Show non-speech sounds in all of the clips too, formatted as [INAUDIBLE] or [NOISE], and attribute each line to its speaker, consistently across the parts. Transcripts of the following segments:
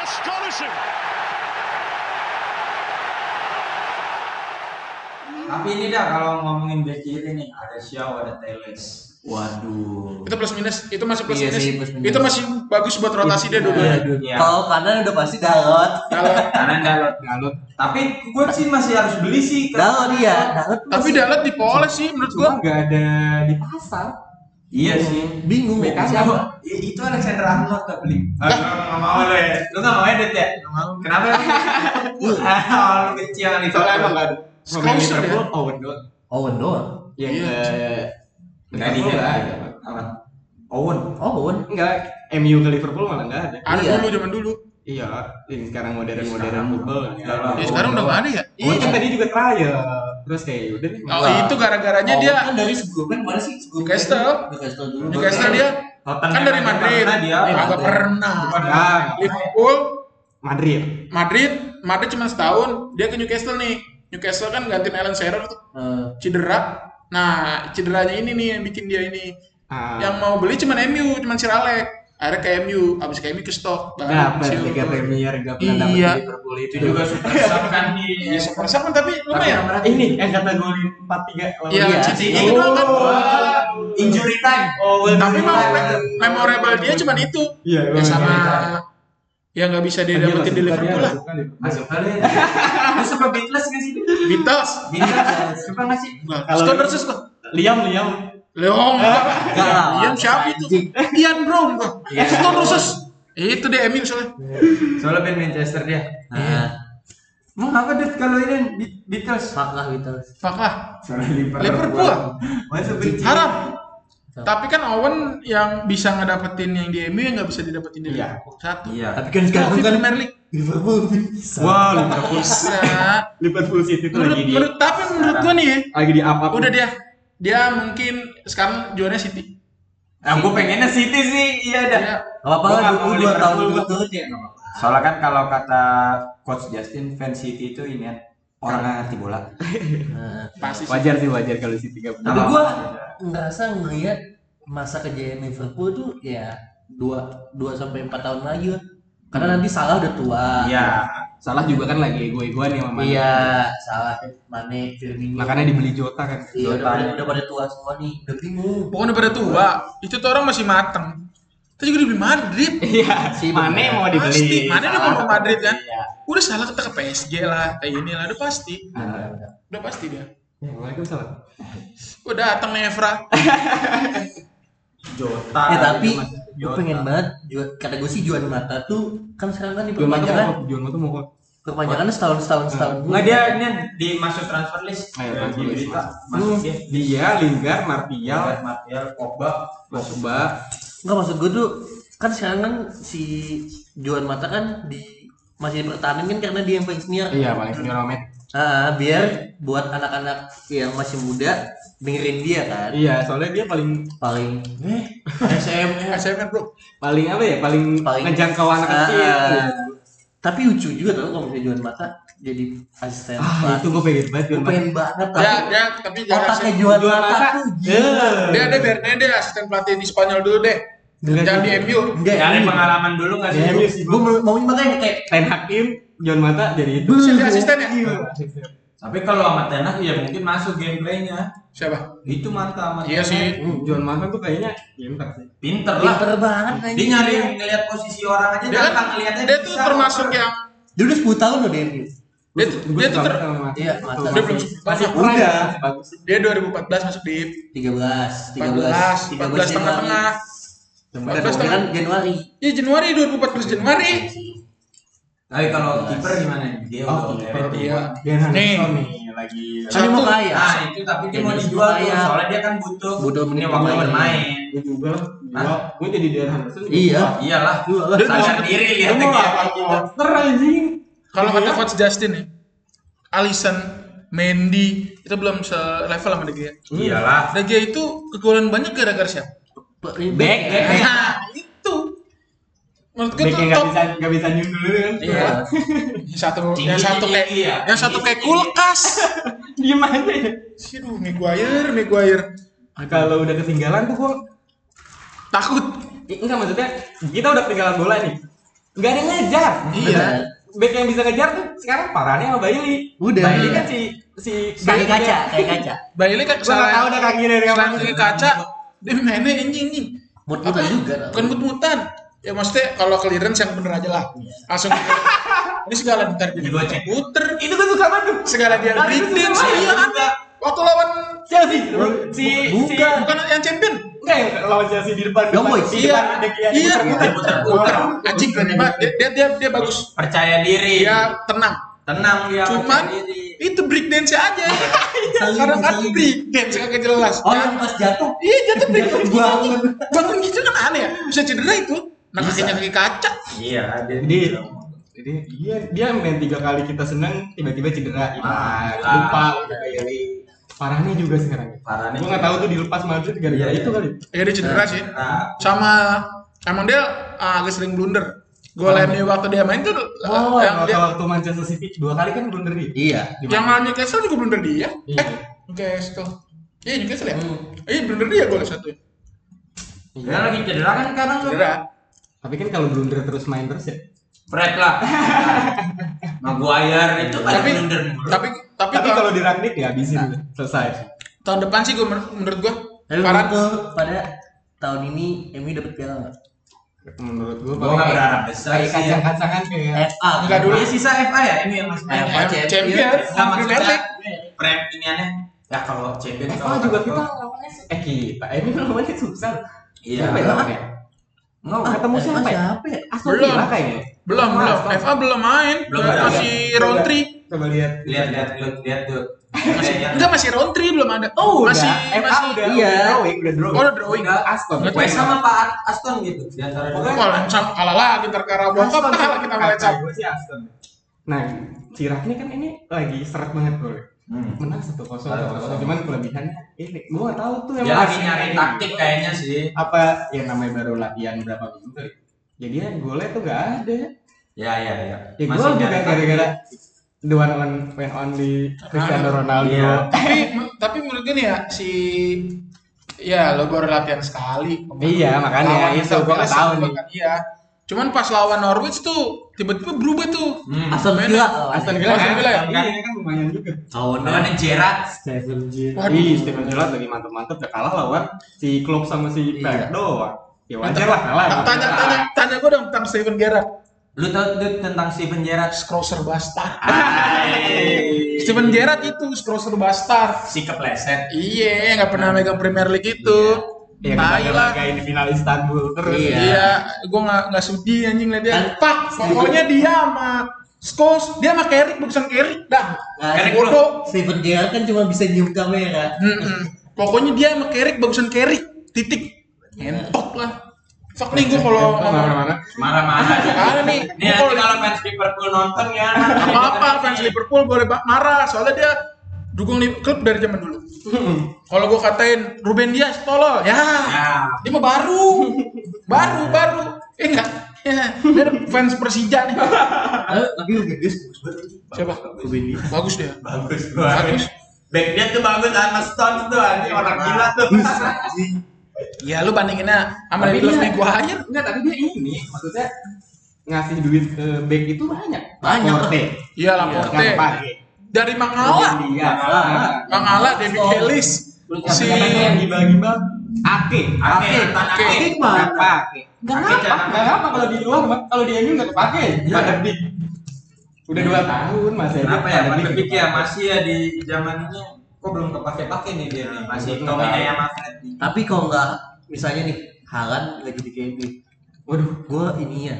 Speaker 1: possession.
Speaker 2: Tapi ini dah kalau ngomongin bek kiri nih ada Xiao ada Teles. Waduh.
Speaker 3: Itu plus minus, itu masih plus
Speaker 4: Iya
Speaker 3: minus.
Speaker 4: sih, plus minus.
Speaker 3: Itu masih bagus buat rotasi dia dua-duanya.
Speaker 2: Iya.
Speaker 4: Kalau kanan udah pasti Dalot.
Speaker 3: Kalau-
Speaker 2: Karena Dalot Dalot. Tapi gue sih masih harus beli sih.
Speaker 4: Dalot iya, Dalot.
Speaker 3: tapi Dalot dipoles sih menurut gua.
Speaker 4: Iya.
Speaker 5: Gua nggak ada di pasar.
Speaker 2: Iya sih. Kan
Speaker 4: Bingung mau
Speaker 5: Bekas
Speaker 4: kasih
Speaker 5: apa?
Speaker 4: apa?
Speaker 2: I- itu Alexander Arnold gak beli. Ah, nggak mau lo ya. Lu nggak mau edit ya? Kenapa? Ah, lu benci sama Liverpool.
Speaker 5: Soalnya emang nggak ada. Pemain
Speaker 3: Closer ya.
Speaker 5: Liverpool Oh, Owen doang.
Speaker 4: Owen doang.
Speaker 5: Yang
Speaker 3: Iya.
Speaker 5: eh,
Speaker 2: Nggak
Speaker 5: Liverpool
Speaker 2: diingat.
Speaker 5: nggak ada.
Speaker 2: Apa? Owen.
Speaker 4: Owen.
Speaker 5: Enggak, MU ke Liverpool malah nggak ada.
Speaker 3: Ada
Speaker 4: Iya.
Speaker 3: dulu zaman dulu.
Speaker 5: Iya, ini sekarang modern-modern
Speaker 2: Sekarang
Speaker 5: football.
Speaker 2: nggak
Speaker 5: nggak
Speaker 2: ada.
Speaker 5: lah.
Speaker 3: Ya sekarang udah nggak ada ya.
Speaker 4: Oh,
Speaker 5: Owen kan
Speaker 3: Iya.
Speaker 5: tadi juga trial. Terus kayak ya udah deh.
Speaker 3: Oh, itu gara-garanya
Speaker 4: Owen
Speaker 3: dia
Speaker 4: Iya. kan dari sebelumnya kemana sih? Sebelum
Speaker 3: Newcastle.
Speaker 4: Newcastle dulu.
Speaker 3: Newcastle dia
Speaker 2: Tottenham
Speaker 3: kan dari
Speaker 2: yang
Speaker 3: Madrid.
Speaker 2: pernah dia.
Speaker 4: Iya.
Speaker 3: Agak
Speaker 4: Madrid.
Speaker 3: pernah.
Speaker 5: Nah,
Speaker 3: Liverpool,
Speaker 5: Madrid.
Speaker 3: Madrid, Madrid cuma setahun. Dia ke Newcastle nih. Newcastle kan gantiin Alan Shearer tuh
Speaker 4: Eh,
Speaker 3: cedera. Nah, cederanya ini nih yang bikin dia ini.
Speaker 5: Ah,
Speaker 3: Yang mau beli cuman MU, cuman Sir Alex. Akhirnya ke MU, abis ke MU ke stok.
Speaker 5: dapat Liga Premier nggak pernah dapat
Speaker 3: Iya.
Speaker 5: di Liverpool itu
Speaker 2: Itu juga
Speaker 5: juga.
Speaker 2: super sub kan di.
Speaker 3: Iya, super sama tapi lumayan.
Speaker 5: Ini eh, yang kata golin 4-3 lawan
Speaker 3: Iya,
Speaker 4: Iya.
Speaker 3: City
Speaker 2: Oh.
Speaker 3: itu kan.
Speaker 2: Injury time.
Speaker 5: Oh, well,
Speaker 3: Tapi
Speaker 5: well, well,
Speaker 3: memorable,
Speaker 5: well.
Speaker 3: memorable dia cuman itu.
Speaker 5: Iya,
Speaker 3: Ya
Speaker 5: well,
Speaker 3: sama
Speaker 5: well.
Speaker 3: yang nggak bisa dia
Speaker 5: Dia nggak
Speaker 3: dapetin di
Speaker 5: suka, dia
Speaker 3: Liverpool
Speaker 5: nggak
Speaker 3: lah.
Speaker 5: suka Liverpool.
Speaker 2: Masuk kali. ya. Lu suka Beatles nggak sih?
Speaker 3: Beatles.
Speaker 4: kan
Speaker 3: [LAUGHS]
Speaker 2: Beatles. Suka nggak sih?
Speaker 3: Nah,
Speaker 5: ya. Kalau-
Speaker 3: Scott versus Scott.
Speaker 5: Liam, Liam. Ah,
Speaker 3: Leong.
Speaker 4: Enggak lah.
Speaker 3: Ian siapa itu? Eh, Ian Brown.
Speaker 5: Iya.
Speaker 3: Scott versus itu dia MU soalnya.
Speaker 2: Iya. Soalnya band Manchester dia.
Speaker 3: Iya.
Speaker 4: Nah,
Speaker 2: Mau apa deh kalau ini Be- Beatles?
Speaker 4: fuck lah gitu.
Speaker 3: Fuck lah.
Speaker 2: Soalnya Liverpool.
Speaker 3: Liverpool.
Speaker 2: Masa benci.
Speaker 3: Haram. Tapi kan Owen yang bisa ngedapetin yang di MU yang nggak bisa didapetin di
Speaker 5: Iya.
Speaker 3: Liverpool satu.
Speaker 2: Iya.
Speaker 4: Tapi kan sekarang
Speaker 3: Trofi
Speaker 4: kan
Speaker 3: Premier
Speaker 5: [LAUGHS]
Speaker 3: League
Speaker 4: Liverpool bisa.
Speaker 5: Wah, Liverpool.
Speaker 3: bisa.
Speaker 5: Liverpool City itu
Speaker 3: menurut,
Speaker 5: lagi di
Speaker 3: menurut tapi menurut gua nih, ya,
Speaker 5: lagi di apa?
Speaker 3: udah dia dia mungkin sekarang juaranya City.
Speaker 2: Nah, gue pengennya City sih, iya dah.
Speaker 3: Dia
Speaker 4: Gak apa-apa
Speaker 2: Gua
Speaker 4: lah,
Speaker 2: nggak mau
Speaker 4: 22 tahun
Speaker 2: Liverpool,
Speaker 4: dulu
Speaker 2: gua.
Speaker 4: tuh dia. nggak apa-apa.
Speaker 2: Soalnya kan kalau kata Coach Justin, fans City itu ini ya, orang nggak ngerti bola.
Speaker 3: Iya.
Speaker 4: Nah,
Speaker 3: pasti sih.
Speaker 5: Wajar sih wajar kalau City nggak
Speaker 2: Nah,
Speaker 5: benar.
Speaker 4: Tapi
Speaker 2: apa-apa.
Speaker 4: gua ngerasa ngelihat masa kejayaan Liverpool tuh ya 2 2 sampai 4 tahun lagi lah. Karena nanti salah udah tua.
Speaker 2: Iya.
Speaker 5: Salah juga kan lagi ego-egoan ya Mama.
Speaker 4: Iya, salah Mane, Firmino.
Speaker 5: Makanya dibeli Jota kan.
Speaker 4: Iya, udah, pada, udah pada tua semua nih, udah bingung.
Speaker 3: Pokoknya pada tua, itu tuh orang masih mateng. Terus juga dibeli Madrid.
Speaker 5: Iya.
Speaker 4: Si
Speaker 5: Mane
Speaker 4: bener.
Speaker 5: mau
Speaker 3: Pasti,
Speaker 5: dibeli. Iya.
Speaker 3: Mane udah
Speaker 5: Salah.
Speaker 3: mau ke Madrid kan?
Speaker 5: Iya.
Speaker 3: Udah salah kata ke PSG lah, kayak inilah udah pasti.
Speaker 5: Ah.
Speaker 4: Nah.
Speaker 3: Udah pasti dia.
Speaker 5: Ya, Waalaikumsalam.
Speaker 3: Udah datang nih Evra.
Speaker 5: Eh, Ya,
Speaker 2: Jota.
Speaker 4: Eh tapi
Speaker 5: Mas.
Speaker 4: gue pengen banget Ju- kata gue sih Juan Mata tuh kan sekarang kan
Speaker 5: Juan Mata
Speaker 4: diperpanjangan
Speaker 5: mau Juan Mata mau
Speaker 4: perpanjangan setahun setahun setahun dulu.
Speaker 2: Nggak dia ini ya, di masuk transfer list.
Speaker 5: Ayo,
Speaker 2: Eh, di
Speaker 5: transfer
Speaker 2: Ya.
Speaker 5: list,
Speaker 2: berita.
Speaker 5: masuk.
Speaker 2: Masuk
Speaker 5: Hmm.
Speaker 2: dia.
Speaker 5: Dia, Lingard, Martial,
Speaker 2: Martial, Martial, Pogba.
Speaker 5: Pogba.
Speaker 4: Nggak maksud gue tuh kan sekarang kan si Juan Mata kan di masih dipertahankan kan karena dia yang paling senior.
Speaker 5: Iya, paling senior Ahmed.
Speaker 4: Ah, biar buat anak-anak yang masih muda dengerin dia kan
Speaker 5: Iya, soalnya dia paling
Speaker 4: paling
Speaker 3: SM SM bro.
Speaker 5: paling apa ya? Paling,
Speaker 4: Paling-
Speaker 5: ngejangkau anak
Speaker 4: Ah,
Speaker 5: kecil.
Speaker 4: ah. tapi lucu juga tau kalau misalnya Juan Mata jadi asisten
Speaker 5: Ah, itu gue pengen banget
Speaker 4: gue
Speaker 5: Juan Mata.
Speaker 4: pengen banget tapi
Speaker 3: Ya, dia tapi jangan
Speaker 4: otaknya
Speaker 3: asisten.
Speaker 4: Juan
Speaker 5: Juan
Speaker 4: Oh, Mata
Speaker 5: Mata. Eh.
Speaker 4: tuh gila
Speaker 3: Dia ada biar dia deh asisten pelatih di Spanyol dulu deh.
Speaker 5: Enggak,
Speaker 3: Jangan di
Speaker 5: enggak.
Speaker 3: MU.
Speaker 4: enggak ya
Speaker 2: Cari pengalaman dulu nggak sih?
Speaker 5: Iya, sih,
Speaker 4: gue mau makanya kayak
Speaker 5: Ten Hag in, John Mata jadi itu.
Speaker 3: Jadi asisten ya?
Speaker 2: Tapi kalau sama Ten Hag ya mungkin masuk gameplaynya.
Speaker 3: Siapa?
Speaker 2: Itu mata sama
Speaker 3: Iya
Speaker 2: Ten Hag.
Speaker 3: sih.
Speaker 5: John Mata tuh kayaknya pintar sih.
Speaker 2: Pinter lah.
Speaker 4: pinter banget
Speaker 2: Iya. Dia nyari ngelihat posisi orang aja,
Speaker 3: Dia
Speaker 2: gampang
Speaker 3: kan
Speaker 2: ngelihatnya.
Speaker 3: dia tuh
Speaker 2: bisa.
Speaker 3: termasuk yang
Speaker 4: dia udah 10 tahun loh dia MU.
Speaker 3: dia tuh
Speaker 5: Gua
Speaker 3: dia tuh
Speaker 5: suka
Speaker 3: ter,
Speaker 5: banget sama Mata.
Speaker 4: iya Mata
Speaker 3: dia belum masih
Speaker 5: Kurang
Speaker 4: Udah.
Speaker 5: ya, bagus.
Speaker 3: dia 2014 masuk di
Speaker 4: 13
Speaker 3: 14 14
Speaker 4: 13
Speaker 3: tengah-tengah.
Speaker 4: Januari. Dan kan Januari
Speaker 3: Iya Januari 2014 Januari.
Speaker 2: Tapi kalau kiper gimana? Dia udah oleh
Speaker 5: Oh, kiper.
Speaker 3: Iya.
Speaker 5: Dan
Speaker 3: Nih.
Speaker 5: Henderson nih lagi.
Speaker 4: kan dia mau
Speaker 3: Satu.
Speaker 4: kaya
Speaker 2: Nah itu tapi dia
Speaker 4: Ya,
Speaker 2: mau
Speaker 4: dia
Speaker 2: dijual tuh,
Speaker 4: supaya-
Speaker 2: soalnya dia kan butuh
Speaker 4: Butuh menit
Speaker 2: ini waktu
Speaker 4: pemain.
Speaker 2: bermain.
Speaker 5: Gue juga lah.
Speaker 2: Hah?
Speaker 5: Gue jadi Dan Henderson.
Speaker 4: iya
Speaker 2: Iyalah,
Speaker 4: Gua lah.
Speaker 2: sadar diri ya. lihat
Speaker 5: Lu
Speaker 2: dia.
Speaker 5: apa Monster anjing.
Speaker 3: Kalau
Speaker 5: Iya.
Speaker 3: kata coach Justin nih, Alisson, Mendy itu belum selevel sama De Gea.
Speaker 2: Iyalah.
Speaker 3: De Gea itu kegolan banyak gara-gara siapa?
Speaker 4: back
Speaker 3: Nah, itu. Menurut gue tuh
Speaker 5: Back yang nggak
Speaker 3: top.
Speaker 5: bisa nggak bisa nyundul dulu kan.
Speaker 3: Iya. Yang satu
Speaker 2: Tinggi,
Speaker 3: yang satu
Speaker 2: tinggi,
Speaker 3: kayak
Speaker 2: ya.
Speaker 3: yang satu
Speaker 2: Tinggi,
Speaker 3: kayak
Speaker 2: tinggi.
Speaker 3: kulkas.
Speaker 5: Diem aja ya.
Speaker 3: Aduh, Maguire, Maguire.
Speaker 5: Kalau udah ketinggalan tuh gue
Speaker 3: Takut.
Speaker 5: enggak maksudnya kita udah ketinggalan bola nih. Gak ada yang ngejar.
Speaker 3: Iya.
Speaker 4: Bener.
Speaker 5: Back yang bisa ngejar tuh sekarang parahnya sama Bailey.
Speaker 4: Udah.
Speaker 5: Bailey kan si si
Speaker 4: Kayak kaca, kayak kaca.
Speaker 3: Bailey kan
Speaker 5: Gue gak tau dah kaki dari
Speaker 3: selain kaki kaca dia mainnya anjing anjing
Speaker 4: Mut-mutan juga.
Speaker 3: bukan but-butan ya maksudnya kalau clearance yang bener aja lah langsung ini segala bentar dia
Speaker 2: Gua cek.
Speaker 3: puter
Speaker 5: Itu gue suka banget tuh.
Speaker 3: segala dia
Speaker 5: Nah,
Speaker 3: break
Speaker 5: itu
Speaker 3: dance
Speaker 5: semua
Speaker 3: iya
Speaker 5: yang
Speaker 3: ada waktu lawan
Speaker 5: Chelsea. Si si
Speaker 3: bukan bukan yang champion
Speaker 5: Enggak yang lawan Chelsea di depan.
Speaker 4: Young
Speaker 5: depan-
Speaker 4: Boys.
Speaker 5: Di
Speaker 3: iya
Speaker 5: depan ada Kian
Speaker 3: iya
Speaker 5: muter-muter.
Speaker 3: puter anjing keren banget dia dia dia, dia bagus
Speaker 2: percaya diri
Speaker 3: dia tenang
Speaker 2: tenang dia
Speaker 3: cuman
Speaker 2: percaya diri.
Speaker 3: itu break dance aja
Speaker 4: Saling-
Speaker 3: karena kan
Speaker 4: saling.
Speaker 3: break dance kagak jelas
Speaker 4: Oh, yang pas jatuh.
Speaker 3: Iya jatuh break dance
Speaker 4: Bangun.
Speaker 3: bangun gitu kan aneh ya bisa cedera itu nah
Speaker 4: Bisa.
Speaker 3: kakinya kaki kaca
Speaker 2: iya dia
Speaker 5: Jadi jadi dia dia main tiga kali kita senang tiba-tiba cedera
Speaker 2: Ah,
Speaker 5: iman
Speaker 2: ah.
Speaker 5: lupa udah Bailey parahnya juga sekarang
Speaker 2: Parahnya
Speaker 5: gue nggak tahu tuh dilepas Madrid gara-gara
Speaker 2: Iya,
Speaker 5: itu
Speaker 2: iya.
Speaker 5: kali
Speaker 3: Iya dia cedera sih.
Speaker 2: Nah,
Speaker 3: Sama emang dia ah, agak sering blunder. Golemnya waktu dia main tuh eh,
Speaker 5: oh
Speaker 3: yang
Speaker 5: waktu,
Speaker 3: dia,
Speaker 5: waktu Manchester City dua kali kan blunder dia
Speaker 4: Iya.
Speaker 5: Di
Speaker 3: yang lawan
Speaker 5: mana?
Speaker 3: Newcastle juga blunder dia.
Speaker 5: Iya.
Speaker 3: Eh, Newcastle. Iya Newcastle ya.
Speaker 4: Hmm.
Speaker 3: Iya blunder dia gol satu.
Speaker 2: dia lagi cedera kan sekarang tuh.
Speaker 3: Cedera.
Speaker 5: tapi kan kalau blunder terus main terus ya
Speaker 2: Fred lah. Maguire itu pada
Speaker 3: Tapi
Speaker 2: blunder mulu.
Speaker 3: tapi tapi,
Speaker 5: tapi
Speaker 3: tahun-
Speaker 5: kalau dirakit ya habisin udah. selesai
Speaker 3: tahun depan sih gua men- menurut gua
Speaker 4: Lalu
Speaker 3: Varane-
Speaker 4: Liverpool pada tahun ini MU dapat piala nggak?
Speaker 5: menurut gue
Speaker 2: Gua nggak berharap besar
Speaker 5: kayak
Speaker 2: sih ya.
Speaker 5: kacang-kacangan kayak
Speaker 4: FA.
Speaker 3: Enggak dulu.
Speaker 2: Dia sisa FA ya ini yang masih main.
Speaker 4: FA
Speaker 3: Champions.
Speaker 4: Champions.
Speaker 2: Nah, maksudnya
Speaker 3: Premier League.
Speaker 2: prem iniannya ya kalau champion
Speaker 5: FA
Speaker 2: kalau
Speaker 5: Oh, juga kita lawannya su- eh kita eh, ini [LAUGHS] lawannya susah
Speaker 2: Iya.
Speaker 5: Siapa ya lawannya?
Speaker 2: Enggak,
Speaker 5: Ah, ketemu
Speaker 4: Eh,
Speaker 5: siapa ya
Speaker 4: Siapa ya?
Speaker 5: Aston
Speaker 3: Belum.
Speaker 5: Villa kayaknya
Speaker 3: belum
Speaker 5: Mas,
Speaker 3: belum.
Speaker 5: Mas.
Speaker 3: FA belum main.
Speaker 2: Belum ada.
Speaker 3: masih round
Speaker 5: Coba-
Speaker 3: 3.
Speaker 5: coba lihat
Speaker 2: lihat lihat lihat lihat
Speaker 5: [LAUGHS]
Speaker 2: Iya, tuh.
Speaker 3: Enggak masih round 3 belum ada.
Speaker 5: Oh,
Speaker 3: masih
Speaker 5: udah. Eh,
Speaker 3: masih
Speaker 5: ah, udah,
Speaker 4: iya.
Speaker 5: udah drawing, udah drawing.
Speaker 3: Oh, udah drawing.
Speaker 5: Udah Aston.
Speaker 3: Nggak
Speaker 2: Gue sama Pak Aston gitu di antara
Speaker 5: Pokoknya-
Speaker 3: Kalau sama- kalah lagi ntar Karabau Cup
Speaker 5: Aston.
Speaker 3: kalah kita
Speaker 5: Kata
Speaker 3: melecap.
Speaker 5: gue sih Aston. Nah, Cirak ini kan ini lagi seret banget bro.
Speaker 2: Hmm.
Speaker 5: Menang satu kosong,
Speaker 2: Satu kosong.
Speaker 5: cuman kelebihannya ini. Gue nggak tahu tuh
Speaker 2: Dia lagi
Speaker 5: asli
Speaker 2: nyari
Speaker 5: ini.
Speaker 2: taktik kayaknya sih.
Speaker 5: Apa ya namanya baru latihan berapa minggu kali. Jadi ya golnya tuh nggak ada.
Speaker 2: Ya ya ya.
Speaker 5: Ya
Speaker 2: Masih
Speaker 5: gol juga
Speaker 2: nyari
Speaker 5: gara-gara the one on when only Cristiano Ronaldo.
Speaker 2: Iya.
Speaker 3: tapi tapi menurut gue nih ya si ya lo baru latihan sekali
Speaker 5: Iya, makanya
Speaker 3: Lawan
Speaker 5: itu gua
Speaker 3: Southampton
Speaker 5: nggak tahu
Speaker 3: juga
Speaker 5: nih.
Speaker 3: kan, iya cuman pas lawan Norwich tuh tiba-tiba berubah tuh
Speaker 2: taktik. Hmm.
Speaker 4: Aston
Speaker 3: Mainnya.
Speaker 4: Villa.
Speaker 5: Aston
Speaker 3: Villa
Speaker 5: Villa
Speaker 3: kan?
Speaker 5: kan?
Speaker 2: Iya,
Speaker 5: Iya kan lumayan juga.
Speaker 4: Tahunnya.
Speaker 2: Lawannya Gerrard.
Speaker 5: Stephen Gerrard.
Speaker 3: Waduh.
Speaker 5: Ih, Stephen Gerrard lagi mantep-mantep udah kalah lawan si Klopp sama si
Speaker 4: Iya.
Speaker 5: Pep doang. Ya wajar lah kalah.
Speaker 3: tanya tanya tanya gue dong tentang Steven Gerrard
Speaker 2: Lu tau tuh tentang Steven Gerrard?
Speaker 3: crosser bastard
Speaker 2: Hai.
Speaker 3: Steven Gerrard itu crosser bastard
Speaker 2: si kepleset.
Speaker 3: iya nggak pernah megang Premier League itu
Speaker 5: Ya
Speaker 3: Tai lah.
Speaker 5: laga di final Istanbul terus.
Speaker 4: Iya.
Speaker 3: Iya, gue nggak nggak sudi anjing liat dia.
Speaker 4: Kan-
Speaker 3: Pak, pokoknya dia sama Scholes, dia sama Carrick, bukan Carrick dah.
Speaker 4: Nah,
Speaker 3: Carrick
Speaker 4: Steven-
Speaker 3: bodoh.
Speaker 4: Steven Gerrard kan cuma bisa nyium kamera.
Speaker 3: Mm-mm. Pokoknya dia sama Kerik bagusan Kerik. Titik.
Speaker 4: Ya.
Speaker 3: Entok lah. Fuck nih gue kalau ngomong
Speaker 5: mana-mana.
Speaker 2: Marah-marah.
Speaker 3: Marah nih.
Speaker 2: Nih nanti kalau fans Liverpool nonton ya.
Speaker 3: apa-apa fans Liverpool boleh ba- marah soalnya dia dukung Li- klub dari zaman
Speaker 4: [LAUGHS]
Speaker 3: dulu. Kalau gue katain Ruben Dias tolol, ya
Speaker 2: Ya.
Speaker 3: dia mah baru, baru baru. Eh enggak, ya. dia ada fans Persija nih.
Speaker 4: Eh, Tapi Ruben Dias bagus banget.
Speaker 3: Siapa?
Speaker 4: Ruben Dias.
Speaker 3: Bagus dia.
Speaker 2: Bagus banget. Backnya tuh bagus sama Stones tuh anjing orang gila tuh.
Speaker 3: Ya lu bandinginnya sama
Speaker 5: Tapi
Speaker 3: Love
Speaker 5: dia-
Speaker 3: Maguire.
Speaker 5: Enggak, tapi dia ini maksudnya ngasih duit ke back itu banyak.
Speaker 4: Banyak.
Speaker 5: Laporte.
Speaker 3: Iya
Speaker 5: Nggak
Speaker 3: Laporte.
Speaker 5: dipakai.
Speaker 3: Dari Mangala.
Speaker 5: Iya.
Speaker 3: Mangala, David
Speaker 4: Oh.
Speaker 3: Ellis, si
Speaker 5: Si bagi-bagi Ake.
Speaker 2: Ake, Tan
Speaker 3: Ake.
Speaker 2: Ake.
Speaker 4: Ake mana?
Speaker 5: Nggak pakai. Nggak
Speaker 2: Ake
Speaker 5: apa.
Speaker 2: jangan.
Speaker 5: Nggak apa kalau di luar, Mak. kalau di MU nggak kepake. Pandemi. Udah dua tahun masih aja
Speaker 2: Kenapa ya?
Speaker 5: pandemi.
Speaker 2: Pandemik ya masih ya di zaman ini kok belum kepake-pake nih dia nih. Masih
Speaker 5: Betul.
Speaker 2: dominan sama Fred nih.
Speaker 4: Tapi kalau nggak misalnya nih Halan lagi di KMB,
Speaker 5: Waduh,
Speaker 4: gue ini ya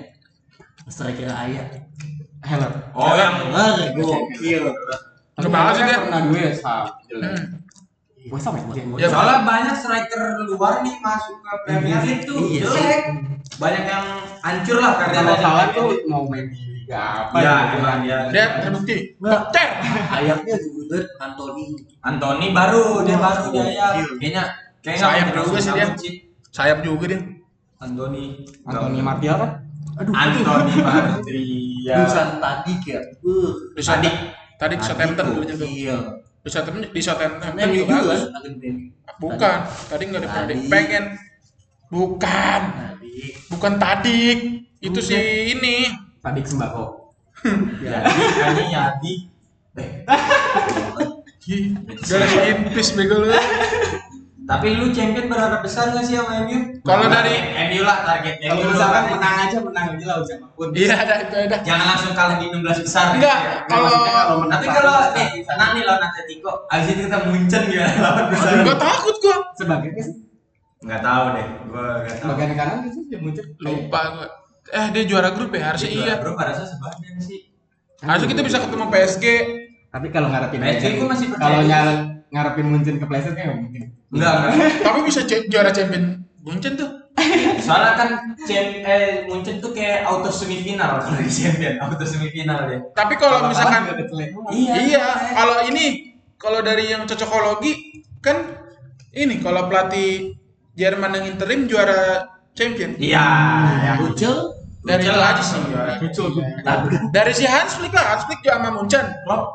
Speaker 4: striker ayah.
Speaker 5: hello.
Speaker 2: Oh
Speaker 4: iya.
Speaker 2: yang
Speaker 4: Wah, gokil.
Speaker 3: Nggak bakal sih dia.
Speaker 5: Pernah ya, gue sama jelek. Gue sama jelek.
Speaker 4: Buat-
Speaker 3: Ya,
Speaker 4: buat-
Speaker 2: Iya. soalnya banyak striker luar nih masuk ke Premier League tuh
Speaker 4: Iya sih.
Speaker 2: jelek. Banyak yang hancur lah karena
Speaker 5: Kalau salah tuh mau main di liga apa?
Speaker 2: Ya,
Speaker 5: gitu
Speaker 2: emang dia.
Speaker 3: dia terbukti.
Speaker 4: Nggak.
Speaker 3: Ter.
Speaker 4: Ayaknya juga Anthony.
Speaker 2: Anthony baru, dia baru dia ya.
Speaker 4: Iya.
Speaker 2: Kayaknya kayaknya
Speaker 3: Sayap
Speaker 2: nggak pernah
Speaker 3: juga
Speaker 5: ya.
Speaker 3: sih dia.
Speaker 2: sambut
Speaker 3: Sayap juga dia.
Speaker 2: Anthony.
Speaker 5: Anthony Martial kan?
Speaker 4: Aduh,
Speaker 5: [LAUGHS]
Speaker 2: Anthony
Speaker 5: Iya.
Speaker 4: Dusan tadi ya. Uh,
Speaker 3: Di Southampton-
Speaker 2: Adik.
Speaker 3: Tadi di Southampton dulu juga.
Speaker 4: Iya.
Speaker 3: Di Southampton di Southampton
Speaker 4: Menu
Speaker 3: juga
Speaker 4: juga
Speaker 3: bagus. Bukan. Tadi nggak ada pernah
Speaker 4: Tadi.
Speaker 3: pengen. Bukan.
Speaker 4: Tadi.
Speaker 3: Bukan Tadik. itu si ini
Speaker 5: Padik sembako.
Speaker 2: [LAUGHS] Ya, kayaknya Yadi. Eh,
Speaker 3: Ih, Gak si Inpis bego lu.
Speaker 2: Tapi lu champion berharap besar nggak sih sama MU?
Speaker 3: Kalau dari-
Speaker 2: MU lah targetnya. kan
Speaker 5: Kalau misalkan kan menang aja menang aja lah ujian pun.
Speaker 3: Iya, ada itu ada.
Speaker 2: jangan langsung kalah di 16 besar.
Speaker 3: Enggak, kalau
Speaker 5: maksudnya kalau menang
Speaker 2: Tapi kalau
Speaker 5: pasti.
Speaker 2: nih, tenang nih lawan Atletico, abis itu kita muncen gimana [LAUGHS] lawan besar?
Speaker 3: gua takut gua.
Speaker 5: Sebagai apa sih?
Speaker 2: Nggak tahu deh, gua nggak tahu.
Speaker 5: Sebagai kanan nggak sih dia muncul.
Speaker 3: Lupa gua. Eh, dia juara grup ya harusnya iya.
Speaker 2: Bro, pada saya sebagian sih.
Speaker 3: Harusnya kita bisa ketemu PSG.
Speaker 5: Tapi kalau ngarepin
Speaker 2: PSG
Speaker 5: Munchen,
Speaker 2: gua masih percaya.
Speaker 5: Kalau nyal- ngarepin Munchen ke Playstation kayak nggak mungkin.
Speaker 2: Enggak, enggak.
Speaker 3: Tapi bisa ce- juara champion Munchen tuh.
Speaker 2: Soalnya kan champ, eh, muncul tuh kayak auto semifinal [LAUGHS] kalau di champion, auto semifinal ya. deh.
Speaker 3: Tapi kalau misalkan
Speaker 5: Kalau kalah juga udah jelek banget.
Speaker 2: Iya.
Speaker 3: Iya, kalau ini kalau dari yang cocokologi kan ini kalau pelatih Jerman yang interim juara champion.
Speaker 2: Iya, ya.
Speaker 4: Ucel
Speaker 3: Dari itu
Speaker 2: Munchen lah.
Speaker 3: aja sih. juara.
Speaker 5: Lucu.
Speaker 4: Iya.
Speaker 3: Dari si Hans Flick lah, Hans Flick juga sama Munchen.
Speaker 2: Klopp.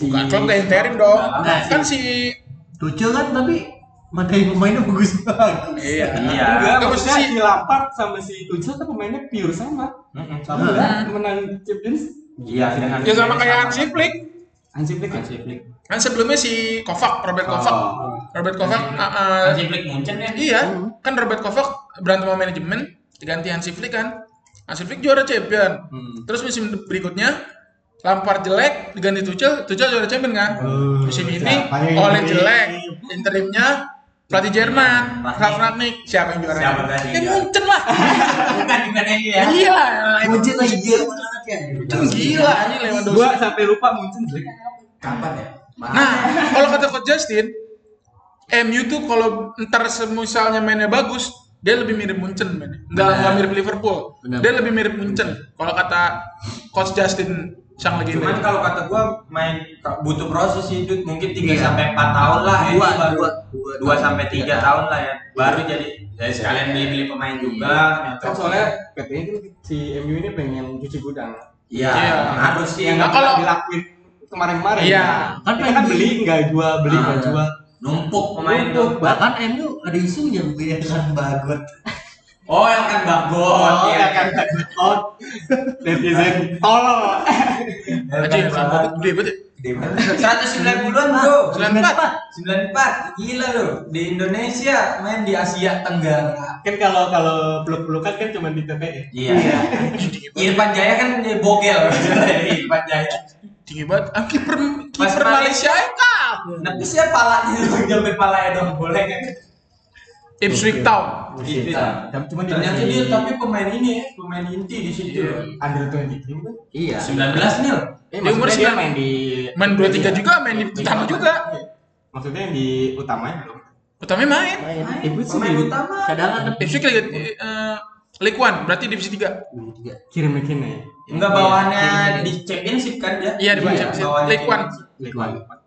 Speaker 3: Bukan
Speaker 5: iya.
Speaker 3: Klopp udah
Speaker 5: ya.
Speaker 3: interim dong.
Speaker 4: Nah,
Speaker 3: kan si
Speaker 4: Tuchel kan tapi materi pemainnya bagus banget.
Speaker 3: Iya.
Speaker 2: Iya.
Speaker 5: Enggak,
Speaker 3: Terus
Speaker 5: maksudnya
Speaker 3: si-
Speaker 5: si Lampard sama si Tuchel tuh pemainnya pure sama. Sama
Speaker 4: Iya.
Speaker 5: kan menang Champions.
Speaker 2: Iya, dengan
Speaker 3: Ya sama kayak Hansi Flick.
Speaker 5: Hansi Flick.
Speaker 2: Hansi Flick.
Speaker 3: Kan sebelumnya si Kovac, Robert Kovac.
Speaker 5: Oh.
Speaker 3: Robert Kovac
Speaker 2: Hansi
Speaker 3: ah,
Speaker 2: Flick.
Speaker 3: ah,
Speaker 2: Hansi Flick Munchen ya.
Speaker 3: iya, kan Robert Kovac berantem sama manajemen, diganti Hansi Flick kan. Hansi Flick juara champion.
Speaker 2: Hmm. [LAUGHS]
Speaker 3: Terus musim berikutnya Lampard jelek, diganti Tuchel, Tuchel juara champion kan. musim ini
Speaker 5: siapa yang
Speaker 3: oleh
Speaker 5: ini?
Speaker 3: jelek, interimnya pelatih Jerman,
Speaker 2: Rangnick.
Speaker 3: Ralf Rangnick. Siapa yang juara?
Speaker 2: Siapa tadi?
Speaker 3: Ya Munchen lah. Iya.
Speaker 2: Bukan bukan MU [LAUGHS] ya.
Speaker 3: Gila.
Speaker 4: Ucel lagi gila banget ya.
Speaker 3: Munchen gila ini Lewandowski.
Speaker 5: Gua sampai lupa Munchen jelek.
Speaker 2: Kapan ya?
Speaker 3: Nah, kalau kata Coach Justin, MU tuh kalau ntar misalnya mainnya bagus, dia lebih mirip Munchen mainnya. Nggak,
Speaker 4: Benar.
Speaker 3: nggak mirip Liverpool.
Speaker 4: Benar.
Speaker 3: Dia lebih mirip Munchen. Kalau kata Coach Justin sang
Speaker 2: Cuman
Speaker 3: legenda.
Speaker 2: kalau kata gua main butuh proses sih Dut. mungkin 3
Speaker 4: Iya.
Speaker 2: sampai 4 tahun lah
Speaker 4: Dua,
Speaker 2: ini baru
Speaker 4: dua,
Speaker 2: 2,
Speaker 4: dua
Speaker 2: sampai 3
Speaker 4: tiga
Speaker 2: tahun lah ya. Baru jadi jadi sekalian beli-beli pemain juga.
Speaker 5: Kan soalnya katanya kan si MU ini pengen cuci gudang.
Speaker 2: Iya,
Speaker 3: Iya.
Speaker 2: harus sih.
Speaker 5: Yang
Speaker 3: Nah,
Speaker 5: nggak
Speaker 3: kalau-
Speaker 5: dilakuin kemarin-kemarin.
Speaker 3: Iya.
Speaker 5: Kan
Speaker 4: Kan
Speaker 5: kita kan
Speaker 4: pengen-
Speaker 5: beli nggak jual, beli nggak
Speaker 4: Ah.
Speaker 5: jual.
Speaker 2: Numpuk pemain
Speaker 5: Numpuk.
Speaker 2: tuh.
Speaker 4: Bahkan MU ada isunya membedakan bagot.
Speaker 2: Oh, yang kan bagot.
Speaker 5: Oh,
Speaker 2: iya.
Speaker 5: ya kan out. Netizen tolol.
Speaker 3: Aja
Speaker 2: kan
Speaker 3: rambutnya gede banget. ya.
Speaker 2: 190-an, Bro.
Speaker 3: 94.
Speaker 2: 94. Gila lu. Di Indonesia main di Asia Tenggara.
Speaker 5: Kan kalau kalau peluk-pelukan kan cuma di TPE.
Speaker 2: Iya. Irfan Jaya kan dia bogel. [LAUGHS] Irfan Jaya.
Speaker 3: Tinggi banget. Ah, kiper
Speaker 2: Mas
Speaker 3: kiper Malaysia ya kak.
Speaker 2: Tapi siapa ya palanya [LAUGHS] tuh jamir palanya dong boleh kan?
Speaker 5: Iya,
Speaker 2: Iya.
Speaker 3: Ipswich Town.
Speaker 5: Cuma di
Speaker 2: Ternyata dia tapi pemain ini ya, pemain inti di situ.
Speaker 5: under 20 team kan.
Speaker 4: Iya.
Speaker 2: 19 nil.
Speaker 5: Eh,
Speaker 3: Dia umur
Speaker 5: maksudnya dia
Speaker 3: sembilan.
Speaker 5: main di Iya.
Speaker 3: Main 23 juga, main di utama juga.
Speaker 5: Maksudnya yang di utamanya belum.
Speaker 3: Utamanya main.
Speaker 5: Ibu sih
Speaker 2: Pemain
Speaker 5: di-
Speaker 2: utama.
Speaker 4: Cadangan tapi
Speaker 3: Ipswich Liga eh, League One, berarti divisi 3.
Speaker 4: tiga.
Speaker 5: kirim ya. Iya. ke nih.
Speaker 2: Enggak bawaannya di championship kan dia?
Speaker 3: Iya, di bawah Championship.
Speaker 2: bawaannya
Speaker 3: League One.
Speaker 2: championship.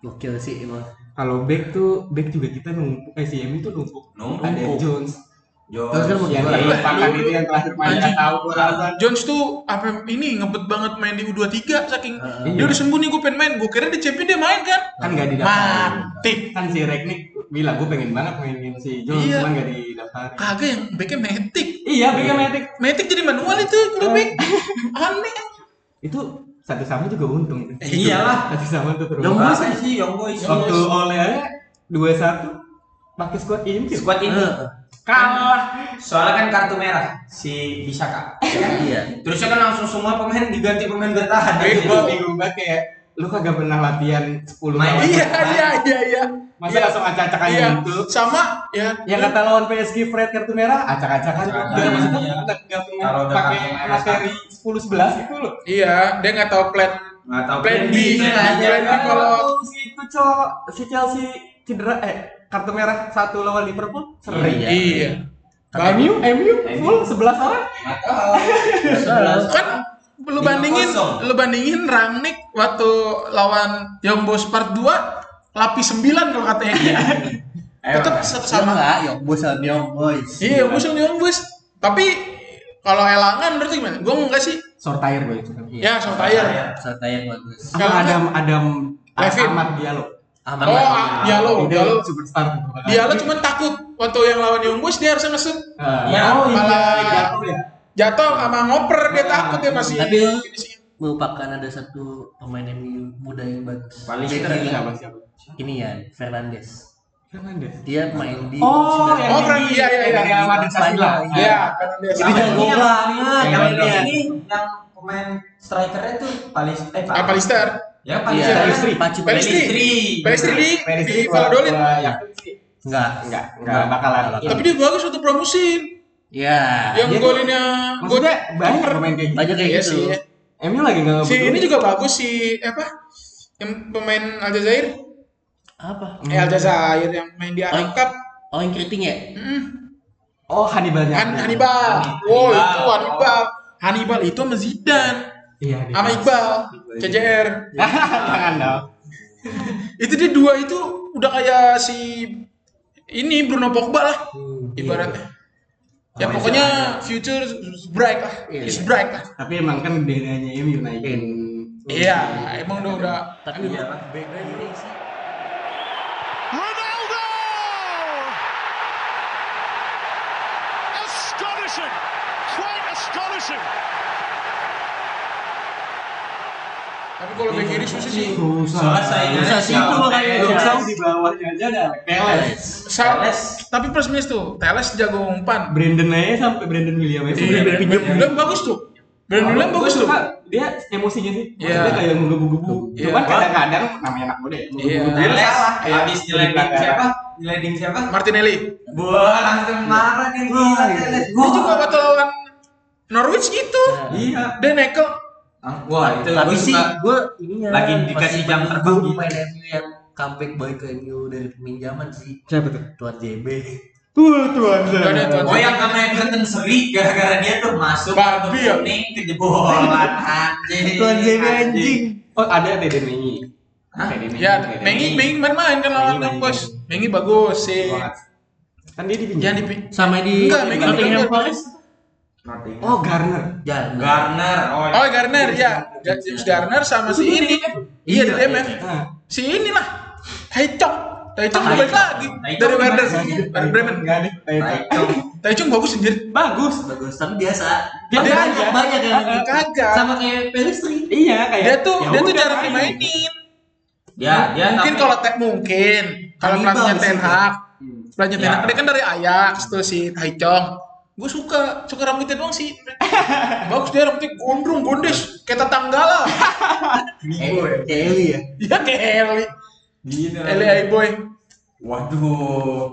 Speaker 4: Gokil sih emang.
Speaker 5: Kalau back tuh back juga kita numpuk eh si Emi tuh numpuk.
Speaker 2: Numpuk.
Speaker 5: Ada Jones.
Speaker 2: Yo.
Speaker 4: Terus kan mau
Speaker 5: Yang
Speaker 4: gimana?
Speaker 2: Iya,
Speaker 5: dilupakan itu yang terakhir main
Speaker 3: Anjing.
Speaker 5: nggak tahu gua alasan.
Speaker 3: Jones tuh apa ini ngebet banget main di U23 saking dia
Speaker 5: Iya.
Speaker 3: udah sembuh nih gue pengen main. Gue kira di champion dia main kan.
Speaker 5: Kan nggak didaftarin.
Speaker 3: Mati.
Speaker 5: Kan si Reknik bilang gue pengen banget mainin si Jones
Speaker 3: Iya. Ah.
Speaker 5: cuman nggak didaftarin.
Speaker 3: Kagak yang backnya metik.
Speaker 5: Iya, backnya Matic.
Speaker 3: Metik jadi manual itu kalau back. [LAUGHS] Aneh.
Speaker 5: Itu satu sama juga untung.
Speaker 2: Eh, iyalah. iya,
Speaker 5: Satu sama tuh terus.
Speaker 4: Yang
Speaker 2: Apa
Speaker 4: boys
Speaker 2: sih sih Young
Speaker 4: Iya,
Speaker 2: Boys?
Speaker 5: Waktu oleh aja dua satu pakai squad inti.
Speaker 2: Squad ini.
Speaker 4: Eh,
Speaker 2: Kalah. Soalnya kan kartu merah si Bisaka.
Speaker 4: Iya.
Speaker 2: Terusnya kan langsung semua pemain diganti pemain bertahan.
Speaker 5: Tapi gue bingung banget kayak lu kagak pernah latihan 10
Speaker 2: Main.
Speaker 5: lawan
Speaker 3: Iya iya iya iya.
Speaker 5: Masa
Speaker 3: Iya.
Speaker 5: langsung acak-acakan
Speaker 3: Iya.
Speaker 5: gitu?
Speaker 3: Sama ya.
Speaker 5: Yang kata lawan PSG Fred kartu merah, acak-acakan.
Speaker 2: Acak-acakan,
Speaker 5: Gak maksudnya
Speaker 2: iya.
Speaker 5: nggak- nggak pernah
Speaker 2: Kalau udah
Speaker 5: pakai
Speaker 2: kartu merah,
Speaker 5: materi 10-11 gitu loh.
Speaker 3: Iya, dia nggak tahu plan
Speaker 2: Nggak tahu
Speaker 3: Plan B.
Speaker 2: Plan B
Speaker 3: Plan B
Speaker 2: kan.
Speaker 3: kalau-
Speaker 5: Waktu si itu cowok gitu, si Chelsea cedera eh kartu merah satu lawan Liverpool sering.
Speaker 4: Iya.
Speaker 5: MU, MU full 11 orang.
Speaker 2: Nggak tahu.
Speaker 4: Sebelas.
Speaker 3: kan lu bandingin
Speaker 2: 5-0.
Speaker 3: lu bandingin Rangnick waktu lawan Young Boys Part 2 lapis 9 kalau katanya dia. [LAUGHS] Tetap
Speaker 4: Sama
Speaker 3: sama.
Speaker 4: nggak? Young boys sama young boys.
Speaker 3: Iya, Young Boys sama Young Boys. Tapi kalau elangan berarti gimana? Gue enggak sih.
Speaker 5: Sortair gue itu kan.
Speaker 3: Ya, sama tayar.
Speaker 4: Serta yang bagus.
Speaker 5: Sama Adam Adam
Speaker 3: Levin.
Speaker 2: Iya,
Speaker 5: Ahmad Diallo.
Speaker 4: aman
Speaker 3: Oh,
Speaker 4: lah.
Speaker 3: ah, iya. Dialog,
Speaker 5: Dia
Speaker 3: dialog.
Speaker 5: superstar.
Speaker 3: Dia lo cuma takut waktu yang lawan Young Boys dia harusnya ngesut. Nah,
Speaker 5: Ah, oh, iya,
Speaker 3: malah-
Speaker 5: iya, jatuh ya.
Speaker 3: Jatuh sama ngoper dia takut dia masih.
Speaker 4: Tapi lu
Speaker 3: finishing.
Speaker 4: melupakan ada satu pemain MU muda yang bagus.
Speaker 5: Paling
Speaker 4: Saya
Speaker 5: cedera
Speaker 4: kira
Speaker 5: siapa siapa?
Speaker 4: Ini ya, Fernandes.
Speaker 5: Fernandes.
Speaker 4: Dia main di
Speaker 5: Oh,
Speaker 4: Sunda.
Speaker 5: yang
Speaker 3: Oh, Fran- iya, iya, iya.
Speaker 5: Real Madrid Sevilla.
Speaker 4: Iya.
Speaker 3: Iya, karena dia
Speaker 4: Jadi
Speaker 2: Yang
Speaker 4: jago
Speaker 2: ini yang- Yang
Speaker 4: banget. Yang
Speaker 2: ini-
Speaker 4: ini.
Speaker 2: Iya, ini yang pemain strikernya tuh Palis eh Pal-
Speaker 3: apa Lister?
Speaker 2: Ya
Speaker 4: Iya,
Speaker 2: Palistar.
Speaker 5: Palistri.
Speaker 4: Pacu
Speaker 3: Palistri. Palistri di di
Speaker 5: Perisri
Speaker 3: Iya, Valladolid.
Speaker 4: Enggak,
Speaker 5: ya. Enggak, enggak bakalan.
Speaker 3: Tapi dia bagus waktu promosin.
Speaker 4: Ya.
Speaker 3: Yang
Speaker 5: Iya,
Speaker 3: golinnya
Speaker 5: Maksudnya banyak pemain kayak gitu.
Speaker 4: Banyak kayak
Speaker 3: Iya
Speaker 4: gitu.
Speaker 3: sih.
Speaker 5: MU lagi nggak
Speaker 3: Si ini juga bagus si apa? Yang pemain Aljazair,
Speaker 4: Apa?
Speaker 3: eh Aljazair yang main di Arab
Speaker 4: Hmm. Oh.
Speaker 3: Cup.
Speaker 4: Oh, yang keriting ya?
Speaker 3: Mm.
Speaker 5: Oh, Hannibal
Speaker 3: Han
Speaker 5: Nyakri.
Speaker 3: Hannibal. Wow, itu Hannibal. Hannibal itu sama Zidane,
Speaker 5: Iya, dia.
Speaker 3: sama Iqbal, CJR.
Speaker 5: [LAUGHS] Jangan dong.
Speaker 3: Itu dia dua itu udah kayak si ini Bruno Pogba lah ibaratnya. Ya
Speaker 4: Oh,
Speaker 3: pokoknya future is bright lah,
Speaker 4: Iya.
Speaker 3: is bright lah.
Speaker 5: Tapi emang kan bedanya MU naikin.
Speaker 3: Iya, emang udah kan udah.
Speaker 4: Tapi ya,
Speaker 3: Aduh.
Speaker 4: Iya.
Speaker 1: Ronaldo! Astonishing! Quite astonishing!
Speaker 3: Tapi kalau back kiri susah sih.
Speaker 5: Susah.
Speaker 2: Soalnya saingannya
Speaker 4: Susah sih, itu makanya.
Speaker 2: Kalau
Speaker 5: Susah
Speaker 2: Teles-
Speaker 5: di bawahnya aja ada. Peles.
Speaker 3: Sa-
Speaker 2: Teles.
Speaker 3: tapi plus minus tuh, Teles jago umpan.
Speaker 5: Brandon aja sampai Brandon William aja.
Speaker 3: Iya, Brandon William bagus tuh. Brandon William bagus tuh.
Speaker 5: Dia emosinya sih.
Speaker 3: Iya.
Speaker 5: Maksudnya kayak menggebu-gebu.
Speaker 3: Iya.
Speaker 5: Cuman kadang-kadang namanya anak muda ya. menggebu-gebu.
Speaker 3: Iya.
Speaker 2: Teles habis
Speaker 5: Iya.
Speaker 2: nyeleding siapa? Nyeleding siapa?
Speaker 3: Martinelli.
Speaker 2: Wah, langsung marah nih gila Teles.
Speaker 3: Dia juga waktu lawan Norwich gitu.
Speaker 5: Iya.
Speaker 3: Dia nekel.
Speaker 2: Ah,
Speaker 3: Nah,
Speaker 2: Wah, itu
Speaker 4: Tapi
Speaker 2: gua
Speaker 4: sih
Speaker 2: suka.
Speaker 4: gue ininya
Speaker 2: Lagi
Speaker 4: masih
Speaker 2: dikasih jam
Speaker 4: menunggu
Speaker 2: terbang gitu.
Speaker 4: pemain MU yang comeback baik ke MU dari peminjaman sih
Speaker 5: Siapa tuh?
Speaker 4: Tuan JB.
Speaker 5: Tuh, Tuhan.
Speaker 3: Gak ada Tuhan.
Speaker 2: Oh yang kemarin Everton seri gara-gara dia tuh masuk
Speaker 3: Babi ya?
Speaker 2: kuning kejebolan anjing.
Speaker 3: Iya.
Speaker 5: Oh, ada Dede Mengi. Dede Mengi,
Speaker 3: Ya,
Speaker 5: Dede
Speaker 3: Mengi Mengi main-main kan lawan
Speaker 5: Mengi,
Speaker 3: Young Boys.
Speaker 5: Mengi.
Speaker 3: Mengi bagus sih.
Speaker 5: Banget. Kan dia dipinjam.
Speaker 3: Jangan dipi.
Speaker 4: Sama di
Speaker 3: Enggak, Mengi
Speaker 4: Nottingham
Speaker 3: juga.
Speaker 4: Forest.
Speaker 5: Oh, Garner.
Speaker 4: Jarang.
Speaker 2: Garner.
Speaker 3: Oh
Speaker 2: Oh,
Speaker 3: Garner ya, James Garner sama si ini. Iya di DMF.
Speaker 5: Nah,
Speaker 3: Si inilah, Taichung. Taichung
Speaker 2: Taichung.
Speaker 3: balik lagi
Speaker 2: Taichung
Speaker 3: dari
Speaker 2: gimana
Speaker 3: Werder.
Speaker 2: sih?
Speaker 3: Dari Bremen.
Speaker 5: Enggak ada.
Speaker 2: Baik dong.
Speaker 3: Taichung bagus anjir.
Speaker 5: Bagus.
Speaker 4: Bagus, tapi biasa.
Speaker 5: Dia
Speaker 4: Banyak-
Speaker 5: aja.
Speaker 4: banyak yang gitu.
Speaker 3: Kagak.
Speaker 4: sama kayak Pelistri.
Speaker 5: Iya, kayak
Speaker 3: Dia tuh
Speaker 5: ya
Speaker 3: dia tuh
Speaker 5: udah,
Speaker 3: jarang
Speaker 5: main.
Speaker 3: dimainin.
Speaker 2: Ya, dia
Speaker 3: Mungkin
Speaker 2: tapi-
Speaker 3: kalau tek mungkin kalau
Speaker 4: Hannibal
Speaker 3: pelatihnya
Speaker 4: sih.
Speaker 3: Ten Hag, pelatihnya Ten
Speaker 2: Ya.
Speaker 3: Hag dia kan dari Ajax tuh si Taichung. Gue suka, suka rambutnya doang sih. Bagus dia rambutnya gondrong, gondes, kayak tetanggala.
Speaker 4: Eh, kayak Eli ya.
Speaker 3: [LAUGHS] Iya kayak Eli,
Speaker 2: Gila.
Speaker 3: Eli Boy.
Speaker 2: Waduh.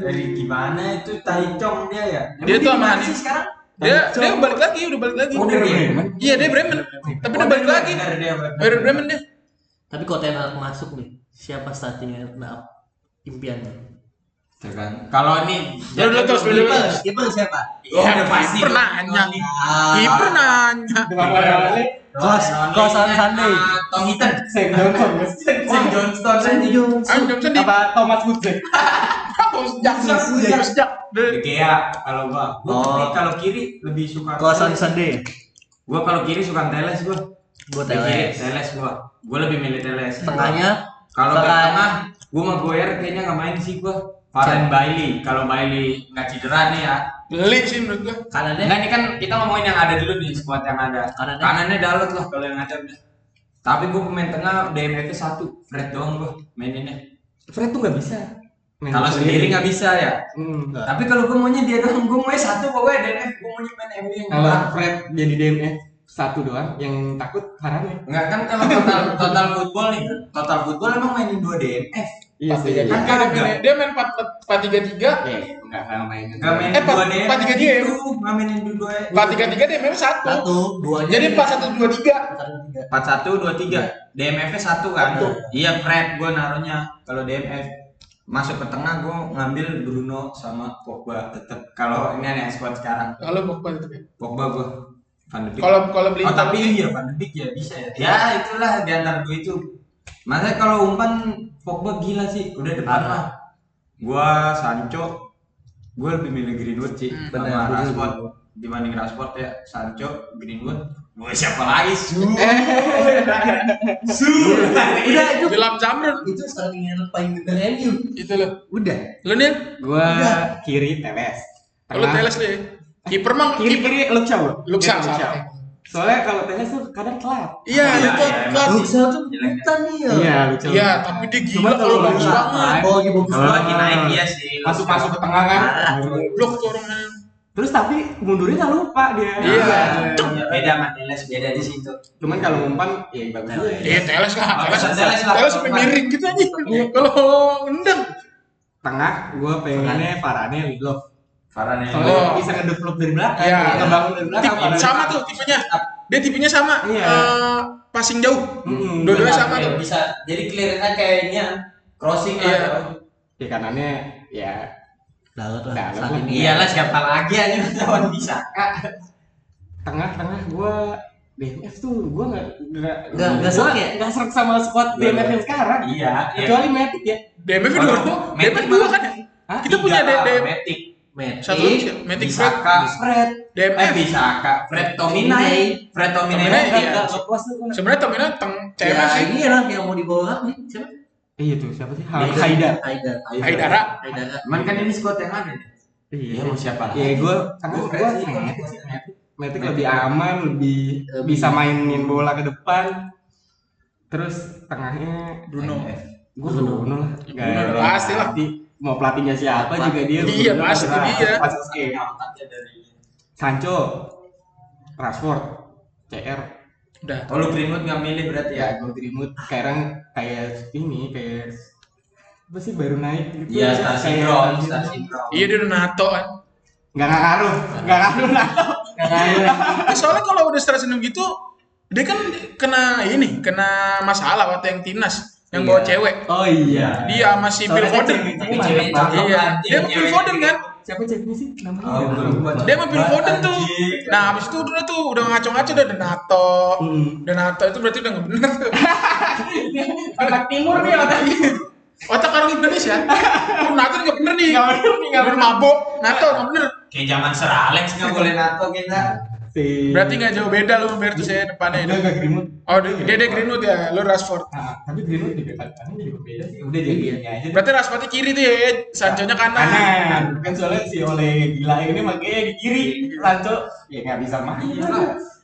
Speaker 2: Dari gimana itu Taichong dia ya?
Speaker 3: Dia
Speaker 2: Emang
Speaker 3: tuh sama
Speaker 2: gimana
Speaker 3: Hanif.
Speaker 2: sih sekarang?
Speaker 3: Dia dia balik lagi, udah balik lagi.
Speaker 2: Oh, dia Bremen.
Speaker 3: Iya dia Bremen, tapi dia
Speaker 2: Oh,
Speaker 3: balik
Speaker 2: dia
Speaker 3: lagi.
Speaker 2: Werder, dia Werder.
Speaker 3: Baru Bremen dia.
Speaker 4: Tapi kalau Ten Hag masuk nih, siapa startingnya nah, impiannya?
Speaker 2: Tuh kan. Kalau ini
Speaker 3: Ya udah, terus, udah,
Speaker 2: Kiper.
Speaker 3: terus.
Speaker 4: Kiper siapa?
Speaker 2: Oh, udah pasti.
Speaker 3: kiper nanya.
Speaker 4: Ah.
Speaker 3: Kiper nanya.
Speaker 5: Depan lawannya
Speaker 4: Kos- kosan Sunday.
Speaker 2: ah, Tom Hinton.
Speaker 5: Sam
Speaker 3: [LAUGHS]
Speaker 5: Johnson. guys.
Speaker 2: Sam Johnston.
Speaker 4: Sandy Jones.
Speaker 3: Ah, Johnson di
Speaker 5: Apa Thomas Hutze?
Speaker 3: Aku sejak sejak sejak. Dari-
Speaker 2: Gea kalau gua. Gua
Speaker 4: Oh.
Speaker 2: tapi kalau kiri lebih suka
Speaker 4: Kosan Sunday.
Speaker 2: Gua kalau kiri suka Teles gua.
Speaker 4: Gue
Speaker 2: Di kiri
Speaker 4: Teles.
Speaker 2: Teles gua. Gua lebih milih Teles.
Speaker 4: Oh, Tengahnya
Speaker 2: Kalau
Speaker 4: Bahkan-
Speaker 2: back tengah, gue sama Goyer kayaknya nggak main sih gue. Varen Bailey, kalau Bailey nggak cedera nih ya.
Speaker 3: Beli sih menurut gua.
Speaker 4: kanannya
Speaker 2: Enggak ini kan kita ngomongin yang ada dulu nih squad yang ada.
Speaker 4: Kanannya?
Speaker 2: Kanannya Dalot lah kalau yang ada. udah. Tapi gue pemain tengah DMF satu, Fred doang gue maininnya.
Speaker 5: Fred tuh nggak bisa. Main
Speaker 2: Kalau sendiri nggak bisa ya.
Speaker 5: Hmm.
Speaker 2: Tapi kalau gue maunya dia doang, gue maunya satu pokoknya DMF, gue maunya main MU
Speaker 3: Oh.
Speaker 2: yang
Speaker 5: Kalau
Speaker 2: nggak.
Speaker 5: Fred jadi DMF satu doang, yang takut Harane.
Speaker 2: Enggak kan kalau total total football nih, total football emang mainin dua DMF.
Speaker 5: Iya sih.
Speaker 2: Kan
Speaker 5: Iya.
Speaker 2: kagak.
Speaker 3: Dia main 4 4 3 3.
Speaker 5: Iya, Nggak nggak mainin.
Speaker 2: Nggak mainin
Speaker 3: Eh, empat-
Speaker 2: dua DMF.
Speaker 3: empat tiga dia ya?
Speaker 2: Itu, nggak mainin dua.
Speaker 3: 4 3 3 dia main 1.
Speaker 4: satu, duanya.
Speaker 3: Jadi 4 1 2 3.
Speaker 4: Satu, tiga.
Speaker 2: empat satu dua tiga DMF nya satu kan
Speaker 4: Satu.
Speaker 2: iya Fred gue naruhnya kalau DMF masuk ke tengah gue ngambil Bruno sama Pogba tetap kalau ini yang squad sekarang
Speaker 3: Kalau Pogba itu. ya.
Speaker 2: Pogba gue Van de Beek
Speaker 3: Kalau kalau beli
Speaker 2: oh, tapi iya Van de Beek ya bisa ya ya itulah di antara dua itu masa kalau umpan Pogba gila sih udah depan
Speaker 4: Parah.
Speaker 2: lah gue Sancho gue lebih milih Greenwood sih
Speaker 3: Hmm.
Speaker 2: sama
Speaker 4: Benar, benar.
Speaker 2: Rashford dibanding Rashford ya Sancho Greenwood Mau siapa lagi? [LAUGHS] Su. Eh. Su.
Speaker 4: Udah itu
Speaker 3: Wilam Zamrun
Speaker 4: itu starting eleven paling bener MU.
Speaker 3: itu gitu loh.
Speaker 4: Udah.
Speaker 3: Lu nih,
Speaker 5: Gua
Speaker 4: Udah.
Speaker 5: kiri Teles.
Speaker 3: lu
Speaker 5: Tengah-
Speaker 3: Iya. teles nih. Kiper mang
Speaker 5: Kiri kiri Luksha gua.
Speaker 3: Luksha,
Speaker 5: Kiri
Speaker 3: salah.
Speaker 5: Soalnya kalau Teles tuh kadang telat.
Speaker 3: Iya,
Speaker 2: Iya,
Speaker 3: itu
Speaker 2: iya,
Speaker 3: kan.
Speaker 2: Pasti.
Speaker 4: Luxa tuh bukan dia.
Speaker 5: Luksha.
Speaker 3: Iya, tapi dia
Speaker 5: Cuma
Speaker 3: gila kalau
Speaker 5: kalau
Speaker 3: bagus
Speaker 5: lagi-
Speaker 3: banget.
Speaker 4: Oh, lagi bagus
Speaker 2: Kalau lagi
Speaker 4: banget.
Speaker 2: naik ya sih.
Speaker 5: Masuk masuk ke tengah kan.
Speaker 4: Parah.
Speaker 3: Blok tuh orang main.
Speaker 5: Terus tapi mundurnya tak lupa dia.
Speaker 3: Iya.
Speaker 2: Ya, beda sama Teles, beda di situ. Nah,
Speaker 5: Cuman kalau umpan ya bagus juga. ya.
Speaker 3: Iya, teles lah. Teles,
Speaker 2: Bagus,
Speaker 3: teles,
Speaker 2: teles lah.
Speaker 3: sampai miring gitu aja. Kalau nendang.
Speaker 5: Tengah gua pengennya Farane Lidlof.
Speaker 2: Farhan yang
Speaker 3: Oh.
Speaker 5: Soalnya bisa ngedevelop dari belakang,
Speaker 3: Iya.
Speaker 5: ngebangun dari belakang.
Speaker 3: Tip-
Speaker 5: Varane.
Speaker 3: sama tuh tipenya. Dia tipenya sama.
Speaker 5: Iya.
Speaker 3: Eh, passing jauh.
Speaker 5: Mm-mm,
Speaker 3: Dua-duanya
Speaker 5: benar.
Speaker 3: sama tuh.
Speaker 2: bisa jadi clear aja kayaknya crossing
Speaker 3: Iya.
Speaker 2: lah.
Speaker 5: Di kanannya ya
Speaker 4: Dalut lah.
Speaker 5: Dalut
Speaker 4: Saat
Speaker 5: lah.
Speaker 4: ini.
Speaker 2: Iyalah Iya siapa lagi aja lawan bisa.
Speaker 5: tengah-tengah gua BMF tuh gua nggak nggak
Speaker 4: Nggak- nggak
Speaker 5: gua
Speaker 4: serak ya?
Speaker 5: nggak serak sama squad BMF yang sekarang
Speaker 2: Iya.
Speaker 5: kecuali Matic ya
Speaker 3: DMF dua.
Speaker 2: Kalau
Speaker 3: DMF
Speaker 2: Matic
Speaker 3: dua
Speaker 2: malah-
Speaker 3: kan ya?
Speaker 5: Hah?
Speaker 3: Kita punya
Speaker 2: Tiga lah,
Speaker 3: DM
Speaker 2: Matic.
Speaker 4: Matic,
Speaker 3: satu lagi, Matic Fred,
Speaker 2: Bisaka, eh
Speaker 5: Fred
Speaker 3: DMF.
Speaker 2: Bisaka, Fred Tominay, Fred Tominay.
Speaker 3: Tominay,
Speaker 2: kan
Speaker 3: iya.
Speaker 5: nggak
Speaker 2: nggak-
Speaker 5: nggak puas tuh gua.
Speaker 3: Sebenarnya Tomina teng
Speaker 4: Ya,
Speaker 3: CMF sih.
Speaker 4: ini lah yang mau dibawa nih. Siapa?
Speaker 5: Eh, iya tuh siapa sih Ha- Haidar
Speaker 4: Haidar.
Speaker 3: Haidara.
Speaker 4: Haidara.
Speaker 2: Cuman kan ini squad yang ada. Iya mau siapa
Speaker 5: ya
Speaker 2: lagi?
Speaker 5: gua tengah
Speaker 2: Gua
Speaker 5: gua
Speaker 2: Fred sih,
Speaker 5: Matic
Speaker 2: Matic
Speaker 5: sih,
Speaker 2: sih.
Speaker 5: Matic. Matic lebih aman lebih
Speaker 4: Lebih-
Speaker 5: bisa mainin bola ke depan terus tengahnya
Speaker 3: Bruno.
Speaker 5: gua
Speaker 4: Bruno.
Speaker 5: Bruno lah Nggak
Speaker 3: Bruno,
Speaker 5: ada
Speaker 3: pasti lah.
Speaker 5: pelatih. mau pelatihnya siapa juga dia
Speaker 3: Iya,
Speaker 5: Bruno
Speaker 3: pasti
Speaker 5: terserah.
Speaker 3: dia.
Speaker 5: Pas skema. Sancho Rashford CR
Speaker 3: Udah.
Speaker 2: Oh lu Greenwood nggak milih berarti ya?
Speaker 5: ya gue Greenwood sekarang kayak ini kayak apa sih baru naik gitu
Speaker 2: Iya, Star
Speaker 5: Kayak-
Speaker 2: Syndrome, Star Syndrome.
Speaker 3: Iya dia udah nato kan.
Speaker 5: nggak nggak ngaruh nggak ngaruh Nato.
Speaker 3: Eh, soalnya kalau udah stres senyum gitu, dia kan kena ini, kena masalah waktu yang timnas, yang bawa cewek.
Speaker 5: oh iya
Speaker 3: Dia masih Phil
Speaker 5: Soalnya kan
Speaker 3: Foden.
Speaker 5: cewek-
Speaker 2: Tapi cewek
Speaker 5: Iya.
Speaker 2: cakep
Speaker 3: Iya.
Speaker 2: kan,
Speaker 3: Dia sama Phil
Speaker 2: cewek-
Speaker 3: Foden kan?
Speaker 5: siapa ceweknya sih namanya
Speaker 2: Oh,
Speaker 5: Nggak
Speaker 2: belum.
Speaker 5: tahu.
Speaker 3: Dia sama Phil Foden tuh.
Speaker 2: Ah, Anjing.
Speaker 3: Nah, habis itu udah tuh udah ngaco-ngaco udah ada nato.
Speaker 5: Hmm.
Speaker 3: Udah nato itu berarti udah nggak bener tuh.
Speaker 5: otak timur nih otak
Speaker 3: Otak orang Indonesia. Oh, nato nggak bener nih.
Speaker 5: Nggak bener nih,
Speaker 3: Nggak
Speaker 5: nggak
Speaker 3: bener mabok. Nato nggak bener.
Speaker 2: Kayak zaman Sir Alex [LAUGHS] nggak boleh nato kita.
Speaker 5: si
Speaker 3: Berarti nggak jauh beda lu Bertus ya
Speaker 5: Nggak,
Speaker 3: depannya.
Speaker 5: nggak Greenwood
Speaker 3: Oh, dia dia, dia Greenwood ya, lu Rashford.
Speaker 5: Nah, tapi Greenwood juga kadang-kadang juga beda sih udah jadi ini aja deh.
Speaker 3: Berarti Rashfordnya kiri tuh ya, Sancho-nya kanan.
Speaker 5: kanan kan soalnya si oleh gila ini makanya di kiri Sancho ya nggak bisa main
Speaker 2: Iya.
Speaker 5: lah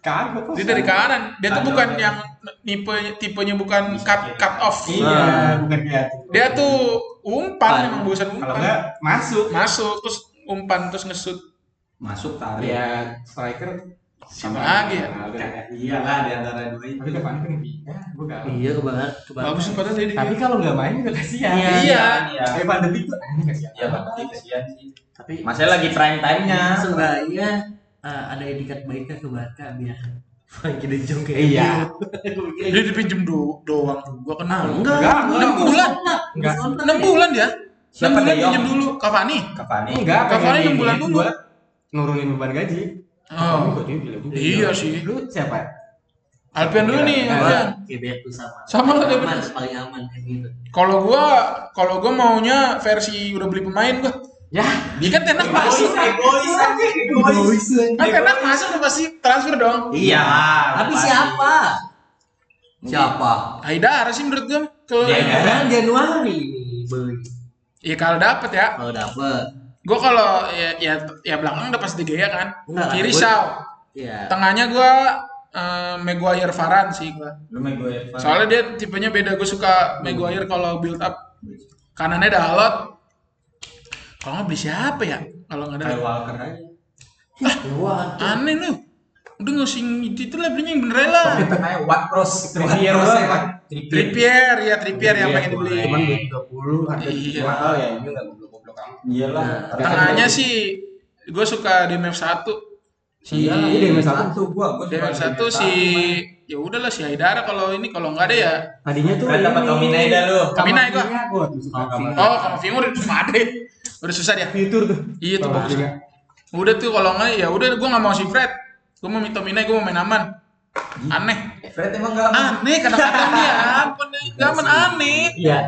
Speaker 5: kagak kok
Speaker 3: Iya. Dia dari kanan. Dia tuh
Speaker 2: Kanan.
Speaker 3: bukan yang tipe tipenya bukan cut cut off.
Speaker 5: iya bukan kreatif
Speaker 3: Dia tuh umpan emang bosan umpan.
Speaker 5: kalau nggak masuk
Speaker 3: Masuk terus umpan terus ngesut.
Speaker 2: Masuk tarik.
Speaker 5: ya striker
Speaker 3: Siapa lagi ya?
Speaker 5: Ronaldo.
Speaker 2: Iya lah di antara dua itu.
Speaker 5: tapi depannya kan pindah gue galau
Speaker 4: Iya, kebangan. kebangan.
Speaker 3: Bagus sih padahal dia.
Speaker 5: tapi kalau nggak main juga kasihan
Speaker 3: Iya.
Speaker 2: Iya.
Speaker 5: kayak pandemi tuh aneh kasihan
Speaker 2: Iya berarti kasihan sih.
Speaker 4: Tapi
Speaker 2: Masih lagi prime time-nya.
Speaker 4: Seenggaknya eh, ada etikat baiknya ke Barca biar [LAUGHS] Frankie De Jong kayak gitu.
Speaker 5: Iya.
Speaker 4: [LAUGHS]
Speaker 3: Dia dipinjem do doang gua kenal.
Speaker 4: Enggak,
Speaker 5: Enggak,
Speaker 3: enam bulan.
Speaker 5: Enggak.
Speaker 3: Enam bulan ya? Enam
Speaker 2: Siapa
Speaker 3: bulan
Speaker 2: De Jong?
Speaker 3: pinjem dulu Cavani.
Speaker 2: Cavani.
Speaker 5: enggak
Speaker 3: Cavani yang bulan dulu.
Speaker 5: buat nurunin beban gaji Cavani
Speaker 3: Oh.
Speaker 5: gajinya gila juga.
Speaker 3: Iya sih.
Speaker 5: gitu? lu siapa
Speaker 3: Alpian dulu nih,
Speaker 5: Iya.
Speaker 3: Alpian.
Speaker 4: Kayak Bertus sama.
Speaker 3: Sama lah, kayak
Speaker 4: aman,
Speaker 3: Bertus.
Speaker 4: paling aman kayak gitu.
Speaker 3: Kalau gua kalau gua maunya versi udah beli pemain gua.
Speaker 5: ya
Speaker 3: Dia kan tenak masuk.
Speaker 4: iya.
Speaker 2: egois aja, egois.
Speaker 3: Kan tenak masuk udah pasti transfer dong.
Speaker 2: Iya lah.
Speaker 4: Tapi
Speaker 2: pasti.
Speaker 4: siapa? Siapa?
Speaker 3: Haidar sih menurut gua kalau
Speaker 2: Ya, ya.
Speaker 4: Jangan Januari ini beli.
Speaker 3: ya kalau dapet ya.
Speaker 4: Kalau dapet.
Speaker 3: Gue kalau ya, ya ya belakang udah pasti De Gea kan.
Speaker 4: Enggak,
Speaker 3: Kiri
Speaker 4: gua-
Speaker 3: Shaw.
Speaker 4: Ya.
Speaker 3: Tengahnya gue Maguire Varane sih gue.
Speaker 2: Lu main gue Evan.
Speaker 3: Soalnya dia tipenya beda. Gue suka Maguire kalau build up. Kanannya Dalot. Kalau nggak beli siapa ya? Kalau nggak ada.
Speaker 2: Kyle Walker aja.
Speaker 4: Keluar.
Speaker 3: Aneh lu. Udah ngusing itu, itu lah belinya yang bener lah.
Speaker 2: Tapi tengahnya Watt Cross.
Speaker 5: Trippier
Speaker 2: Watt Cross
Speaker 5: doang.
Speaker 2: ya, Trippier.
Speaker 3: Trippier ya Trippier yang pengen dibeli.
Speaker 5: cuman duit 30 harga
Speaker 3: Iya.
Speaker 5: mahal ya ini nggak goblok-goblok kamu
Speaker 2: Iya lah.
Speaker 4: Nah,
Speaker 3: Tengahnya sih gue suka DMF 1
Speaker 5: iya ini dia yang satu
Speaker 2: Satu gua, gua
Speaker 3: DMF
Speaker 2: suka
Speaker 3: 1 si ya udahlah si Haidara kalau ini kalau nggak ada ya
Speaker 5: tadinya tuh
Speaker 2: Fred dapat Tominay dah lu.
Speaker 3: Tominay gua.
Speaker 5: gua tuh suka
Speaker 4: Tominay.
Speaker 5: kabar.
Speaker 3: Oh, kalau Vimo udah ada. Udah susah dia.
Speaker 5: fitur tuh
Speaker 3: Iya, tuh
Speaker 5: Sama
Speaker 3: bagus.
Speaker 5: juga.
Speaker 3: Udah tuh kalau nggak ya udah gue nggak mau si Fred. Gue mau minta Minai, gue mau main aman. Aneh.
Speaker 2: Fred emang gak
Speaker 3: Aneh kadang-kadang dia apa ya nih? Gaman aneh.
Speaker 5: iya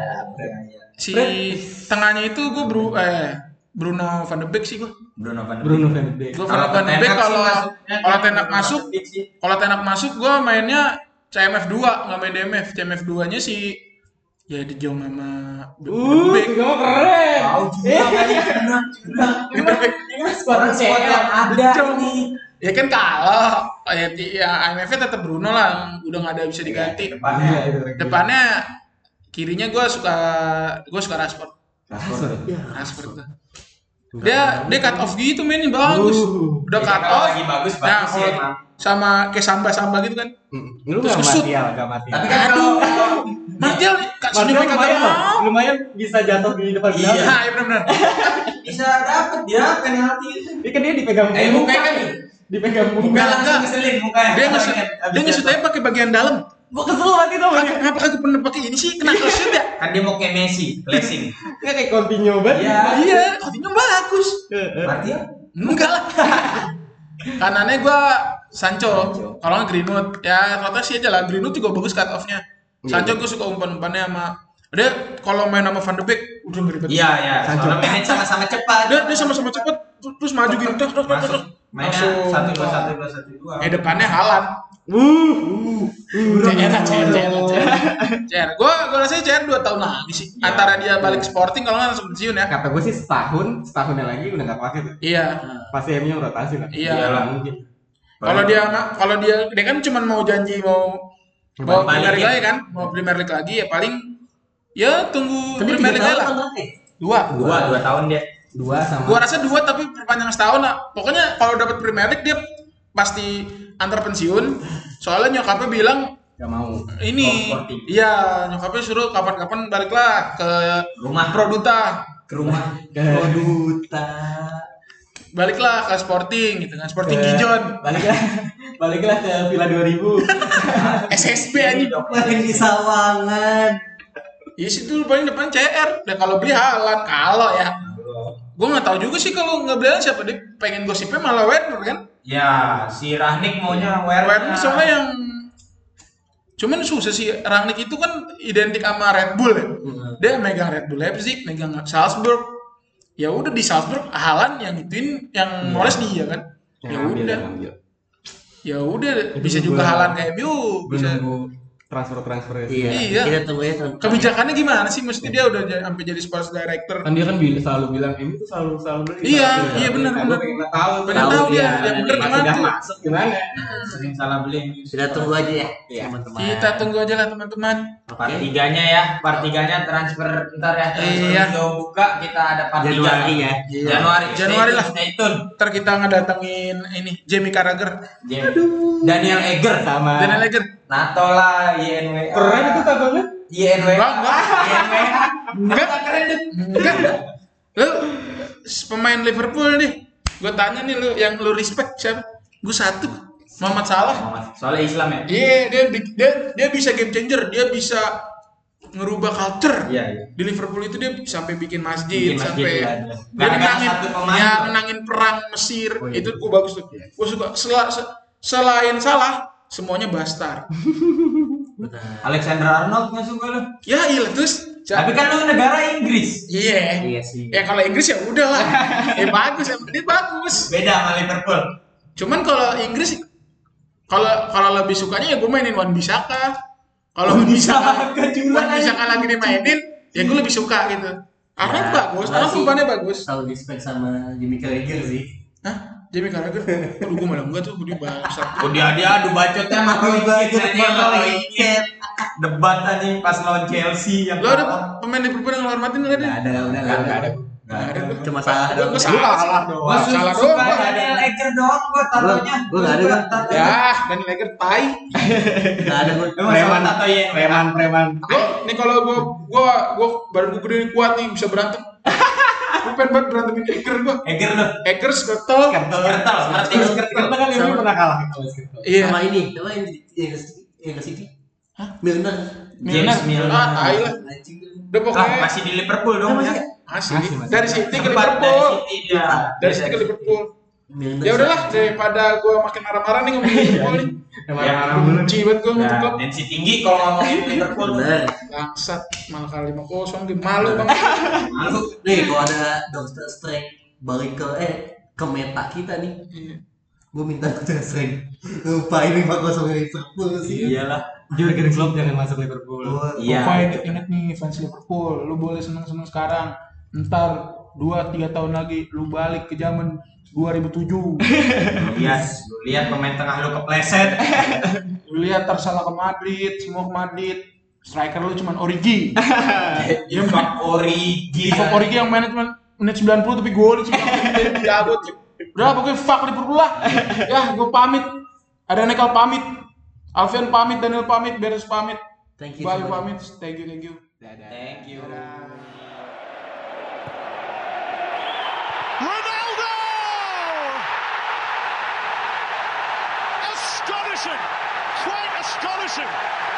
Speaker 3: Si tengahnya itu gue bru eh Bruno Van de Beek sih gua.
Speaker 2: Bruno Van de Beek.
Speaker 5: Bruno Van de Beek.
Speaker 3: Gua Van Van de Beek kalau kalau Tenak masuk, kalau Tenak masuk gua mainnya CMF 2 nggak main DMF. CMF 2-nya si ya di Jong sama Van de
Speaker 5: Uh,
Speaker 3: Beek.
Speaker 5: tiga mah keren. Eh.
Speaker 2: Tahu juga kali Cina, Cina.
Speaker 3: Van de Beek.
Speaker 2: Ini squad squad yang ada
Speaker 3: Jauh.
Speaker 2: nih.
Speaker 3: Ya kan kalah. Ya, ya IMF-nya tetap Bruno lah, udah nggak ada yang bisa diganti.
Speaker 2: Depannya
Speaker 5: Iya, itu.
Speaker 3: Depannya kirinya gua suka gua suka Rashford.
Speaker 5: Rashford.
Speaker 4: Ya,
Speaker 3: Rashford tuh. Dia dia cut off gitu mainnya bagus.
Speaker 5: Uh.
Speaker 3: Udah
Speaker 2: Jadi
Speaker 3: cut
Speaker 2: kalau
Speaker 3: off.
Speaker 2: lagi bagus
Speaker 3: Nah,
Speaker 2: bagus ya, sih
Speaker 3: kalau [LAUGHS]
Speaker 2: emang.
Speaker 3: sama kayak samba-samba gitu kan.
Speaker 5: Lu
Speaker 3: Terus
Speaker 5: gak
Speaker 3: kesut.
Speaker 5: mati ya, gak mati.
Speaker 2: Tapi kan kalau kalau
Speaker 3: Martial kak
Speaker 5: Martial
Speaker 3: Sony kagak
Speaker 5: lumayan loh,
Speaker 3: mau.
Speaker 5: lumayan bisa jatuh di depan
Speaker 3: Iya,
Speaker 5: gawang.
Speaker 3: iya benar-benar.
Speaker 2: bisa dapet dia penalti itu.
Speaker 5: Ini kan dia dipegang
Speaker 2: Eh, mukanya kan nih.
Speaker 5: dipegang
Speaker 3: Enggak,
Speaker 5: bunga.
Speaker 2: Langsung
Speaker 3: enggak.
Speaker 2: ngeselin mukanya.
Speaker 3: Dia ngesut,
Speaker 2: Habis
Speaker 3: dia ngesut
Speaker 2: jatuh.
Speaker 3: aja pakai bagian dalam.
Speaker 5: Gua kesel banget itu
Speaker 3: Kenapa
Speaker 5: makanya.
Speaker 3: kenapa kagak pernah pakai ini sih? Kena shoot ya?
Speaker 2: Kan dia mau kayak Messi, blessing.
Speaker 5: Dia kayak Coutinho banget. Uh.
Speaker 2: Iya. Uh.
Speaker 3: Iya, hobinya bagus.
Speaker 5: Heeh.
Speaker 2: Martial
Speaker 3: Enggak lah. Kanannya gua Sancho,
Speaker 2: Sancho.
Speaker 3: kalau nggak Greenwood ya rotasi aja lah. Greenwood juga bagus cut off-nya.
Speaker 2: Iya,
Speaker 3: Sancho gua suka umpan-umpannya sama dia kalau main sama Van de Beek udah ngeribet.
Speaker 2: Iya iya,
Speaker 5: Sancho.
Speaker 2: soalnya mainnya sama-sama cepat.
Speaker 3: Dia, dia sama-sama cepet terus- terus maju gitu. Terus terus terus.
Speaker 2: Masuk.
Speaker 3: terus.
Speaker 2: Mainnya
Speaker 3: Langsung.
Speaker 2: satu dua satu dua satu dua.
Speaker 3: Eh depannya Halan.
Speaker 5: Uh.
Speaker 3: CR lah, CR, CR, lah, CR. CR. Gua gua rasanya CR 2 tahun lagi sih.
Speaker 2: Iya.
Speaker 3: Antara dia balik Sporting kalau nggak langsung pensiun ya.
Speaker 5: Kata gue sih setahun, setahunnya lagi udah gak pakai tuh.
Speaker 3: Iya.
Speaker 5: Pasti MU rotasi lah.
Speaker 3: Iya.
Speaker 5: Iyalah, mungkin.
Speaker 3: Kalau dia ma- kalau dia dia kan cuma mau janji mau mau
Speaker 2: Balikin.
Speaker 3: Premier League lagi kan, mau Premier League lagi ya paling ya tunggu
Speaker 4: Tapi
Speaker 3: Premier
Speaker 4: tiga
Speaker 3: League
Speaker 4: tahun
Speaker 3: aja lah.
Speaker 4: kontraknya.
Speaker 3: Dua.
Speaker 2: dua dua tahun dia.
Speaker 5: Dua sama.
Speaker 3: Gua rasa dua tapi perpanjang setahun lah. Pokoknya kalau dapat Premier League dia pasti antar pensiun. Soalnya nyokapnya bilang
Speaker 5: Gak mau.
Speaker 3: ini
Speaker 2: Oh, Sporting.
Speaker 3: iya nyokapnya suruh kapan-kapan baliklah ke
Speaker 2: Rumah
Speaker 3: Produta
Speaker 2: ke rumah.
Speaker 5: Ke-
Speaker 4: Produta.
Speaker 3: baliklah ke Sporting gitu kan Sporting
Speaker 5: Ke-
Speaker 3: Gijon
Speaker 5: Baliklah, baliklah ke Villa 2000.
Speaker 3: SSB anjing
Speaker 4: Main di Sawangan.
Speaker 3: Iya sih dulu paling depan CR. Dan kalau beli halan kalau ya. Gue nggak tahu juga sih kalau nggak beli Haaland siapa dia pengen gosipnya malah Werner kan.
Speaker 2: Ya, si
Speaker 3: Iya.
Speaker 2: Rahnik maunya Werner.
Speaker 3: Werner soalnya yang cuman susah sih Rangnick itu kan identik sama Red Bull ya.
Speaker 5: Hmm.
Speaker 3: Dia megang Red Bull Leipzig, megang Salzburg. Ya udah di Salzburg Haaland yang ituin yang Morris dia kan. Ya
Speaker 5: Iya. Yang ambil,
Speaker 3: udah.
Speaker 5: yang ambil.
Speaker 3: Ya udah bisa
Speaker 5: Itu
Speaker 3: juga
Speaker 5: gua-
Speaker 3: Haaland kayak MU, bisa
Speaker 5: Menunggu transfer-transfer ya
Speaker 4: Iya.
Speaker 3: Iya.
Speaker 4: Kita tunggu ya. tunggu.
Speaker 3: kebijakannya gimana sih mesti dia udah jadi- sampai jadi sports director
Speaker 5: kan dia kan bil- selalu bilang ini tuh selalu selalu beli
Speaker 3: Iya,
Speaker 5: selalu beli,
Speaker 3: iya,
Speaker 5: selalu
Speaker 3: benar,
Speaker 5: beli." Nah,
Speaker 3: benar.
Speaker 5: gua pengen tahu tuh.
Speaker 3: Pengen tahu dia, yang bener
Speaker 5: Pas
Speaker 3: gimana
Speaker 5: udah
Speaker 3: tuh.
Speaker 5: masuk gimana
Speaker 2: sering salah beli.
Speaker 4: Kita tunggu aja ya.
Speaker 5: Iya.
Speaker 4: Teman-teman.
Speaker 3: kita tunggu aja lah teman-teman
Speaker 2: Part tiganya ya, part tiganya transfer ntar ya transfer
Speaker 3: Iya.
Speaker 2: window buka kita ada part
Speaker 4: Januari
Speaker 2: tiga.
Speaker 4: ya.
Speaker 3: Iya.
Speaker 2: Januari, stay
Speaker 3: Januari
Speaker 2: tune,
Speaker 3: lah.
Speaker 2: Stay tune.
Speaker 3: ntar kita ngedatengin ini Jamie Carragher
Speaker 2: Jam. Daniel Eger,
Speaker 5: sama
Speaker 3: Daniel Lager
Speaker 2: Nato lah, YNWA.
Speaker 5: keren itu tatonya
Speaker 2: YNWA.
Speaker 3: gitu. Enggak, enggak.
Speaker 2: YNWA.
Speaker 3: enggak keren enggak lu s- pemain Liverpool nih gue tanya nih lu yang lu respect siapa gue satu Muhammad Salah
Speaker 2: Soalnya Islam ya.
Speaker 3: iya dia, bi- dia dia bisa game changer dia bisa ngerubah culture
Speaker 2: Iya, iya.
Speaker 3: di Liverpool itu dia sampai bikin masjid,
Speaker 2: Bikin masjid,
Speaker 3: sampai
Speaker 2: iya, iya.
Speaker 3: dia
Speaker 2: Gara-gara
Speaker 3: menangin
Speaker 2: satu pemain, Oh, iya.
Speaker 3: ya
Speaker 2: loh.
Speaker 3: menangin perang Mesir itu gue bagus tuh gue suka Sela- se- selain salah semuanya bastard
Speaker 4: Benar.
Speaker 2: Alexander Arnold masuk gue lu.
Speaker 3: ya iya terus
Speaker 2: Tapi kan lu negara Inggris.
Speaker 3: iya
Speaker 4: Iya sih.
Speaker 3: ya kalau Inggris ya udah
Speaker 2: [LAUGHS]
Speaker 3: lah ya bagus yang penting bagus
Speaker 2: Beda sama Liverpool.
Speaker 3: cuman kalau Inggris kalau kalau lebih sukanya ya gue mainin Wan Bisaka kalau Wan Bisaka Wan Bisaka lagi dimainin ya gue lebih suka gitu Arnold
Speaker 4: Ya,
Speaker 3: bagus, Arnold
Speaker 4: masih-
Speaker 3: umpannya bagus.
Speaker 4: Selalu respect sama Jimmy Carragher
Speaker 3: [LAUGHS]
Speaker 4: sih.
Speaker 3: Hah? Jamie Carragher? Aduh, gue malah gue tuh gue bangsat.
Speaker 2: Oh dia dia adu bacotnya sama Roy Keane, anjing, Roy Keane. Debat anjing pas lawan Chelsea yang
Speaker 3: Lo ada pemain Liverpool yang lo hormatin nggak ada?
Speaker 4: Nggak ada, udah nggak
Speaker 5: Nggak
Speaker 4: ada.
Speaker 5: ada.
Speaker 4: Nggak ada. Cuma salah doang.
Speaker 3: Gue salah. Salah
Speaker 2: Gua
Speaker 3: doang.
Speaker 2: su-
Speaker 3: Salah
Speaker 2: suka
Speaker 3: doang.
Speaker 2: Daniel Eger doang gua tatonya.
Speaker 4: Gua- gua nggak ada, gua.
Speaker 2: tato.
Speaker 3: Ya, dan Lager tai.
Speaker 4: Nggak ada gue.
Speaker 2: Lu masih
Speaker 5: Preman.
Speaker 2: tato ya.
Speaker 5: preman preman
Speaker 3: Gue, nih kalau gue, gue, gue badan gue gede nih, kuat nih, bisa berantem. [LAUGHS] Gue pengen banget berantemin Eger gue.
Speaker 2: Eger lu.
Speaker 3: Eger sekotel.
Speaker 5: kertel
Speaker 2: Kertel, ngerti lu kertel.
Speaker 5: kertel kan Liverpool
Speaker 4: Sama-
Speaker 5: pernah kalah kalau kertel
Speaker 3: Iya.
Speaker 4: Sama ini. Sama yang di yang ke City. Yang ke City. Milner.
Speaker 2: James Milner.
Speaker 3: Ah, tai lah.
Speaker 4: Anjing tuh.
Speaker 3: Udah
Speaker 2: Ah,
Speaker 3: pokoknya
Speaker 2: masih di Liverpool dong
Speaker 4: Masih
Speaker 2: ya.
Speaker 4: ya?
Speaker 3: masih.
Speaker 5: Masih, masih.
Speaker 3: Dari City ke
Speaker 2: Tempat dari
Speaker 3: Liverpool.
Speaker 2: City dia.
Speaker 3: Dari City ke Liverpool.
Speaker 4: miring
Speaker 3: Ya udahlah daripada gua makin marah-marah nih ngomongin Liverpool nih.
Speaker 5: marah-marah
Speaker 2: Ya.
Speaker 5: mulu.
Speaker 3: Benci iya. banget gua sama tuh
Speaker 2: Nah,
Speaker 3: klub.
Speaker 2: tensi tinggi kalau ngomongin Liverpool.
Speaker 4: bener
Speaker 3: Bangsat, malah kalah 5-0 gitu. Malu banget.
Speaker 2: Malu.
Speaker 4: nih kalau ada Doctor Strange balik ke eh ke meta kita nih gue minta Doctor Strange lupain lima kosong Liverpool sih
Speaker 2: Iyalah.
Speaker 5: Jurgen Klopp jangan masuk Liverpool.
Speaker 4: Wah,
Speaker 2: Iya.
Speaker 3: Pokoknya inget, inget nih fans Liverpool, lu boleh seneng-seneng sekarang. Ntar 2-3 tahun lagi lu balik ke zaman [LAUGHS] 2007.
Speaker 2: Lu lihat, lu lihat pemain tengah lu kepleset.
Speaker 3: Lu lihat ntar salah ke Madrid, semua ke Madrid. Striker lu cuman Origi.
Speaker 2: Iya, Bang Origi.
Speaker 3: Fuck Origi yang mainnya cuman menit 90 tapi gol sih. Jago. Udah pokoknya fuck Liverpool lah. Ya, gue pamit. Ada Nekal pamit. Alfian pamit, Daniel pamit, Beres pamit.
Speaker 4: thank you
Speaker 3: Bayu
Speaker 4: so much.
Speaker 3: pamit. Thank you, thank you.
Speaker 2: Thank you.
Speaker 1: Ronaldo! Astonishing! Quite astonishing!